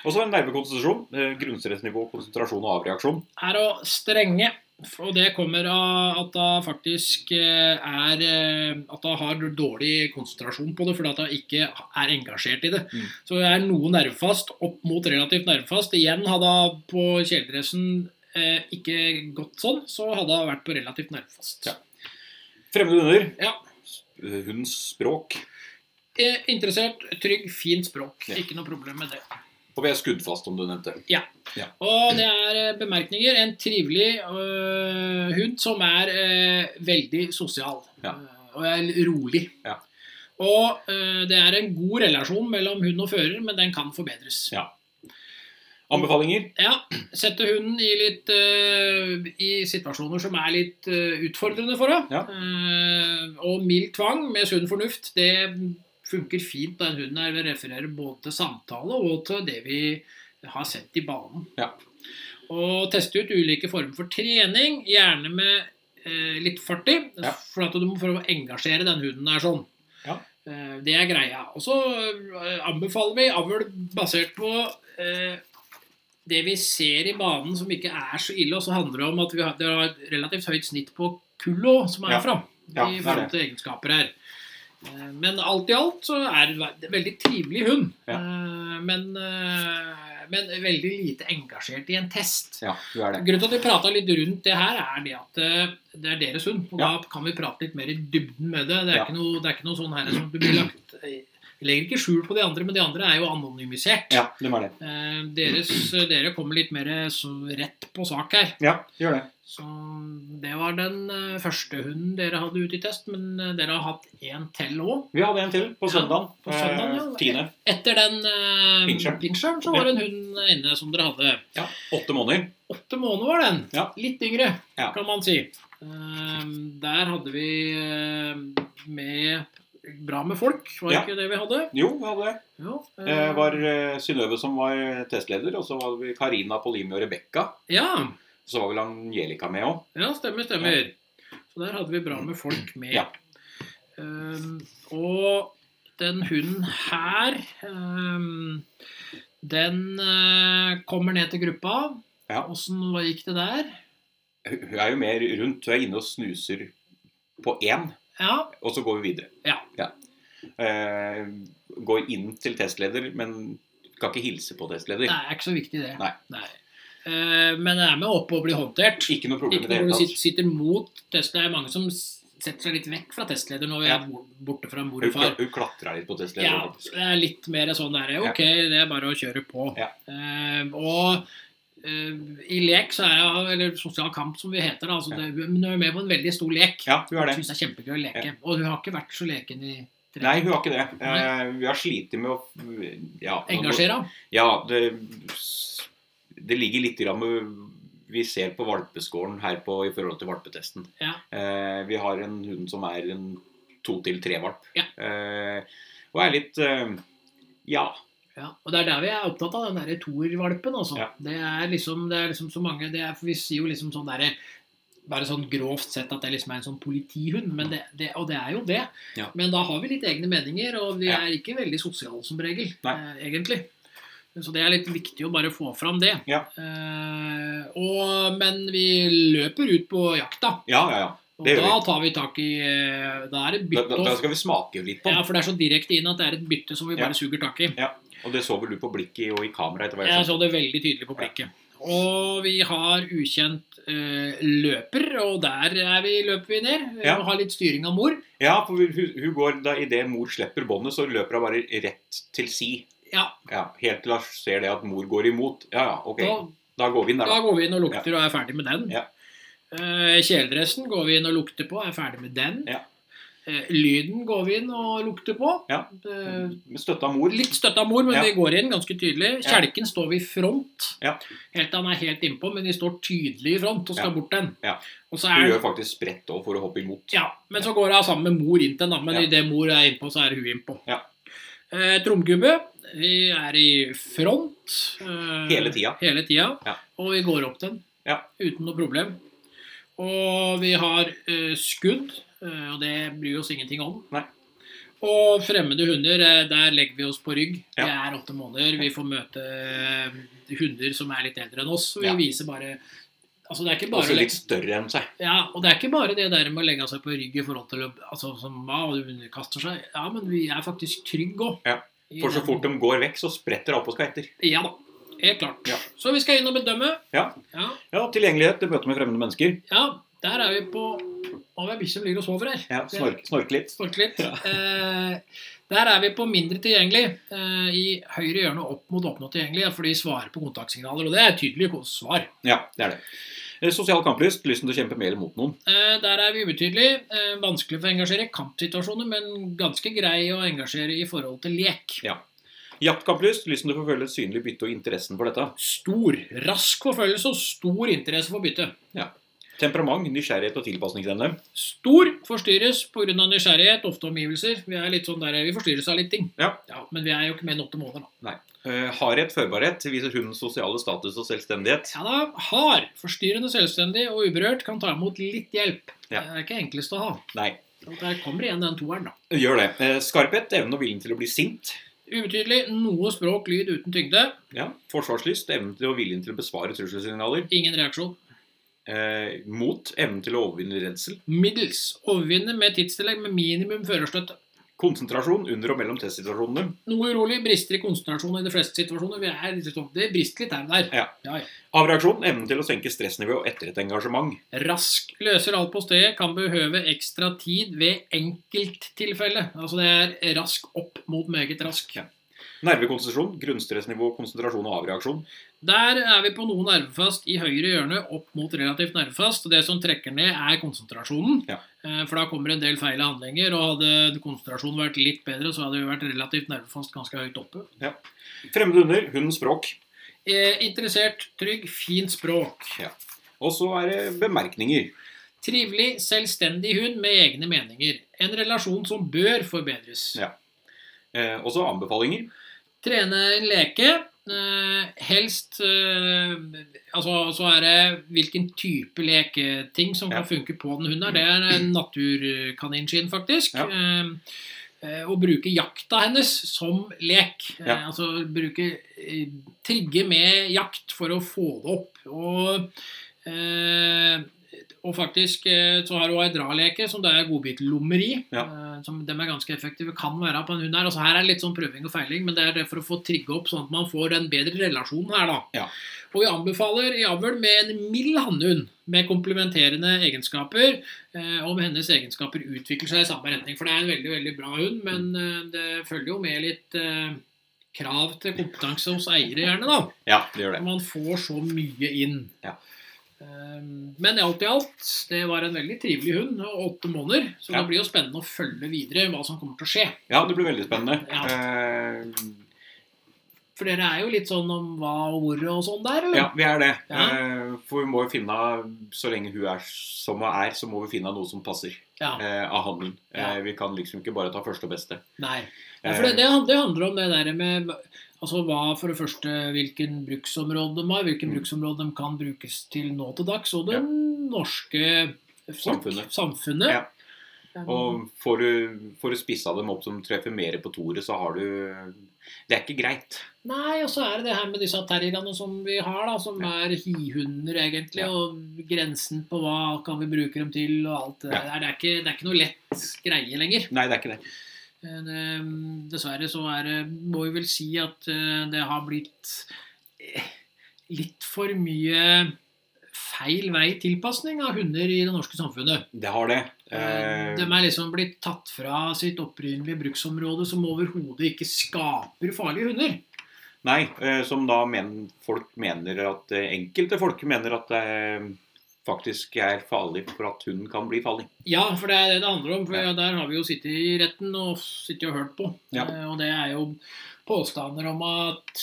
Og så en nervekonsentrasjon. Eh, grunnstressnivå, konsentrasjon og avreaksjon. er å strenge. Og det kommer av at hun faktisk eh, er eh, At hun har dårlig konsentrasjon på det, fordi at hun ikke er engasjert i det. Mm. Så hun er noe nervefast, opp mot relativt nervefast. Igjen hadde hun på kjeledressen eh, ikke gått sånn, så hadde hun vært på relativt nervefast. Ja. Fremmede hunder. Ja. Eh, Hundens språk. Eh, interessert, trygg, fint språk. Ja. Ikke noe problem med det. Og vi er skuddfast, om du nevnte. Og det er eh, bemerkninger. En trivelig øh, hund som er øh, veldig sosial. Ja. øh, Og er rolig. Ja. Og øh, det er en god relasjon mellom hund og fører, men den kan forbedres. Ja. Anbefalinger. Ja, Sette hunden i litt øh, i situasjoner som er litt øh, utfordrende for henne. Ja. Eh, og mild tvang med sunn fornuft, det funker fint. Den hunden her Vi refererer både til samtale og til det vi har sett i banen. Ja. Og teste ut ulike former for trening, gjerne med eh, litt fart i. Ja. For at du må prøve å engasjere den hunden her sånn. Ja. Eh, det er greia. Og så eh, anbefaler vi avl basert på eh, det vi ser i banen som ikke er så ille, og så handler det om at vi har, det har et relativt høyt snitt på kullo som er Ja. herfra. Ja, I det er forhold til egenskaper her. Eh, Men alt i alt så er det ve- veldig trivelig hund. Ja. Eh, Men, eh, men veldig lite engasjert i en test. Ja, du er det. Grunnen til at vi prata litt rundt det her, er det at eh, det er deres hund. Og da kan vi prate litt mer i dybden med det. Det er, Ja. ikke, noe, det er ikke noe sånn her som du blir lagt eh, Vi legger ikke skjul på de andre, men de andre er jo anonymisert. Ja, det var det. Eh, Deres, dere kommer litt mer eh, så rett på sak her. Ja, gjør det. Så det var den eh, første hunden dere hadde ute i test, men eh, dere har hatt én til òg. Vi hadde en til på Ja, søndag. Eh, på søndagen, ja. Tiende. Etter den eh, Pinscher. pinsjeren så var det en hund inne som dere hadde. Ja, Åtte måneder. Åtte måneder var den. Ja. Litt yngre, Ja. kan man si. Ehm, der hadde vi ehm, med Bra med folk, var Ja. ikke det vi hadde? Jo, vi hadde det. Jo, Det ehm, var eh, Synnøve som var testleder, og så hadde vi Karina, Polimi og Rebekka. Ja, Så var vel Angelica med òg. ja stemmer, stemmer. Så der hadde vi bra med folk med. Ja. Ehm, og den hunden her ehm, Den eh, kommer ned til gruppa. Ja. Åssen hva gikk det der? Hun hun er jo mer rundt. Hun er inne og snuser på én, Ja, og så går vi videre. Ja. Eh, går inn til testleder, men kan ikke hilse på testleder. Det er ikke så viktig, det. Nei. Eh, men det er med oppe og blir håndtert. Ikke noe problem Ikke i det når hele du sitter, tatt. sitter mot test. Det er mange som s- setter seg litt vekk fra testleder når vi Ja. er bor- borte fra mor Hun, og kla- far. hun klatra litt på testleder. Ja, det er litt mer sånn der Ok, det er bare å kjøre på. Ja. Eh, og eh, i lek, så er det, eller sosial kamp som vi heter, da, altså Ja. det, men hun er med på en veldig stor lek. Ja, hun er det. Syns det er kjempegøy å leke. Og hun har ikke vært så leken i tre Nei, hun har ikke det. Eh, vi har slitt med å ja, Engasjere henne. Ja, det, det ligger litt grann med Vi ser på valpeskåren her på, i forhold til valpetesten. Ja. Eh, vi har en hund som er en to til tre valp. Ja. Eh, og er litt eh, Ja. Ja, og Det er der vi er opptatt av den der toervalpen. Altså. Ja. Det, er liksom, det er liksom så mange det er, for Vi sier jo liksom sånn derre Bare sånn grovt sett at det liksom er en sånn politihund, men det, det, og det er jo det. Ja. Men da har vi litt egne meninger, og vi Ja. er ikke veldig sosiale som regel. Nei. Eh, egentlig. Så det er litt viktig å bare få fram det. Ja. Eh, og, men vi løper ut på jakta, Ja, ja, ja. og Det gjør da tar vi tak i eh, Da er det Da, da, da bytte. skal vi smake litt på Ja, den. for det er så direkte inn at det er et bytte som vi Ja. bare suger tak i. Og det så vel du på blikket og i kameraet etter hva jeg Jeg sa. så det veldig tydelig på blikket. Og vi har ukjent eh, løper, og der er vi, løper vi ned. Vi Ja. må ha litt styring av mor. Ja, for hun, hun går da idet mor slipper båndet, så løper hun bare rett til si. Ja, Ja, Helt til hun ser det at mor går imot. Ja, ja, ok. da, Da går vi inn der, da da. går vi inn og lukter og er ferdig med den. Ja. Eh, kjeledressen går vi inn og lukter på, er ferdig med den. Ja. Eh, lyden går vi inn og lukter på. Ja. Eh, Med støtte av mor. Litt støtt av mor, men Ja. vi går inn ganske tydelig. Ja. Kjelken står vi i front. Ja. Helt til han er helt innpå, men de står tydelig i front og skal Ja. bort den. Ja. Og så Hun er gjør faktisk sprett òg for å hoppe imot. Ja, men så går hun sammen med mor inn til den, da. Men Ja. idet mor er innpå, så er hun innpå. Ja. Eh, Tromgubbe vi er i front. Eh, Hele tida. Hele tida. Ja. Og vi går opp til den Ja. uten noe problem. Og vi har eh, skudd, eh, og det bryr oss ingenting om. Nei. Og fremmede hunder, eh, der legger vi oss på rygg. Ja. Det er åtte måneder. Vi får møte eh, hunder som er litt eldre enn oss. og Vi Ja. viser bare Altså, det er ikke bare Også å legge- litt større enn seg. ja, og det er ikke bare det der med å legge seg på rygg i forhold til å- altså, som ma og underkaster seg. Ja, men vi er faktisk trygge òg. Ja, For så fort de går vekk, så spretter hun opp og skal etter. Ja da. Helt klart. Ja. Så vi skal inn og bedømme. Ja. Ja, Ja, Tilgjengelighet til møte med fremmede mennesker. ja der er vi på Å, det er bikkja som ligger og sover her. Ja, snork, snork litt. Snork litt. Ja. Eh, der er vi på mindre tilgjengelig. Eh, I høyre hjørne opp mot åpne og tilgjengelig, for de svarer på kontaktsignaler. Og det er tydelige ko- svar. Ja, det er det. Eh, Sosial kamplyst. Lysten til å kjempe med eller mot noen. Eh, Der er vi ubetydelige. Eh, Vanskelig for å engasjere i kampsituasjoner, men ganske grei å engasjere i forhold til lek. Jaktkamplyst. Lysten til å forfølge et synlig bytte og interessen for dette. Stor, rask forfølgelse og stor interesse for bytte. Temperament, nysgjerrighet og tilpasningsevne. Stor forstyrres pga. nysgjerrighet, ofte omgivelser. Vi er litt sånn der, vi forstyrres av litt ting. Ja. Men vi er jo ikke mer enn åtte måneder, da. Eh, Hardhet, førbarhet. Viser hundens sosiale status og selvstendighet. Ja da, Hard, forstyrrende, selvstendig og uberørt kan ta imot litt hjelp. Ja. Det er ikke enklest å ha. Nei. Og Der kommer igjen den toeren, da. Gjør det. Eh, Skarphet. Evnen og viljen til å bli sint. Ubetydelig. Noe språk, lyd uten tyngde. Ja. Forsvarslyst. Evnen til og viljen til å besvare trusselsignaler. Ingen reaksjon. Eh, mot. Evnen til å overvinne redsel. Middels. Overvinne med tidstillegg med minimum førerstøtte. Konsentrasjon under og mellom testsituasjonene. Noe urolig, brister i konsentrasjon i de fleste situasjoner. Vi er, litt sånn- det brister litt her og der. Avreaksjon. Evnen til å senke stressnivået etter et engasjement. Rask løser alt på stedet, kan behøve ekstra tid ved enkelttilfelle. Altså det er rask opp mot meget rask. Nervekonsentrasjon. Grunnstressnivå, konsentrasjon og avreaksjon. Der er vi på noe nervefast i høyre hjørne opp mot relativt nervefast. og Det som trekker ned, er konsentrasjonen. Ja. Eh, For da kommer en del feil handlinger. og Hadde konsentrasjonen vært litt bedre, så hadde vi vært relativt nervefast ganske høyt oppe. Fremmede hunder. Hundens språk. Eh, Interessert, trygg, fint språk. Og så er det bemerkninger. Trivelig, selvstendig hund med egne meninger. En relasjon som bør forbedres. Ja. Eh, og så anbefalinger. Trene en leke. eh, helst eh, Altså, så er det hvilken type leketing som kan Ja. funke på den hunden. her. Det er en naturkaninskinn, faktisk. Ja. Eh, eh, å bruke jakta hennes som lek. Eh, Ja. altså bruke eh, Trigge med jakt for å få det opp. Og, eh, og faktisk eh, så har hun ei draleke som det er godbitlommer i. Eh, som de er ganske effektive, kan være på en hund her. Altså her er det litt sånn prøving og feiling, men det er det for å få trigge opp, sånn at man får en bedre relasjon her, da. Ja. Og vi anbefaler i avl med en mild hannhund med komplementerende egenskaper. Eh, om hennes egenskaper utvikler seg i samme retning. For det er en veldig, veldig bra hund, men eh, det følger jo med litt eh, krav til kompetanse hos eiere, gjerne, da. Ja, det gjør det. Man får så mye inn. Ja. Ehm, Men alt i alt, det var en veldig trivelig hund, og åtte måneder. Så Ja. det blir jo spennende å følge videre hva som kommer til å skje. Ja, det blir veldig spennende. Ja. Eh, For dere er jo litt sånn om hva og hvor og sånn der, eller? ja, vi er det. Ja. Eh, for vi må jo finne Så lenge hun er som hun er, så må vi finne noe som passer Ja, eh, av handelen. Ja. Eh, vi kan liksom ikke bare ta første og beste. Nei. Ja, for det, det, det handler om det der med altså hva for det første, hvilken bruksområde de har, hvilken Mm. bruksområde de kan brukes til nå til dags, og det Ja. norske folk, Samfunnet. samfunnet. Ja. Eh, Og får du, får du spissa dem opp som treffer mer på toret, så har du Det er ikke greit. Nei, og så er det det her med disse terrierne som vi har, da, som er hihunder, egentlig. Ja. Og grensen på hva kan vi bruke dem til, og alt det Ja. der. Det er ikke, det er ikke noe lett greie lenger. Nei, det er ikke det. Men, eh, dessverre så er det Må vi vel si at eh, det har blitt eh, litt for mye feil vei tilpasning av hunder i det norske samfunnet. Det har det. Eh, De Eh, er liksom blitt tatt fra sitt opprinnelige bruksområde, som overhodet ikke skaper farlige hunder. nei, eh, som da men, folk mener at eh, Enkelte folk mener at det eh, faktisk er farlig for at hunden kan bli farlig. Ja, for det er det det handler om. For Ja. Der har vi jo sittet i retten og sittet og hørt på. Ja. Eh, Og det er jo påstander om at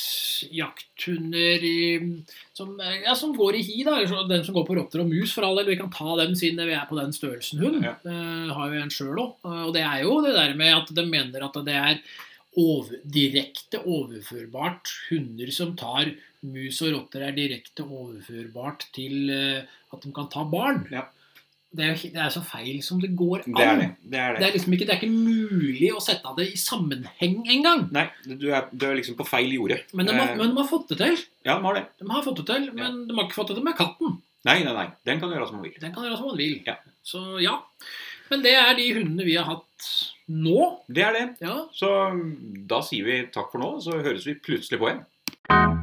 jakthunder i, som, eh, ja, som går i hi, da, eller så- den som går på rotter og mus for all del, vi kan ta dem siden vi er på den størrelsen hund, Ja. eh, har jo en sjøl òg. Og det er jo det der med at de mener at det er over, direkte overførbart hunder som tar mus og rotter, er direkte overførbart til eh, at de kan ta barn. Ja. Det er, jo- det er så feil som det går an. Det er det. det, er Det det. er liksom ikke, det er ikke mulig å sette det i sammenheng engang. Nei, du er, du er liksom på feil jorde. Men, de har- Eh, men de har fått det til. Ja, de har det. De har fått det til, Men de har ikke fått det til med katten. Nei, nei, nei. Den kan du gjøre som du vil. Den kan gjøre som man vil. Ja. Så ja. Men det er de hundene vi har hatt nå. Det er det. Ja. Så mm, da sier vi takk for nå, så høres vi plutselig på igjen.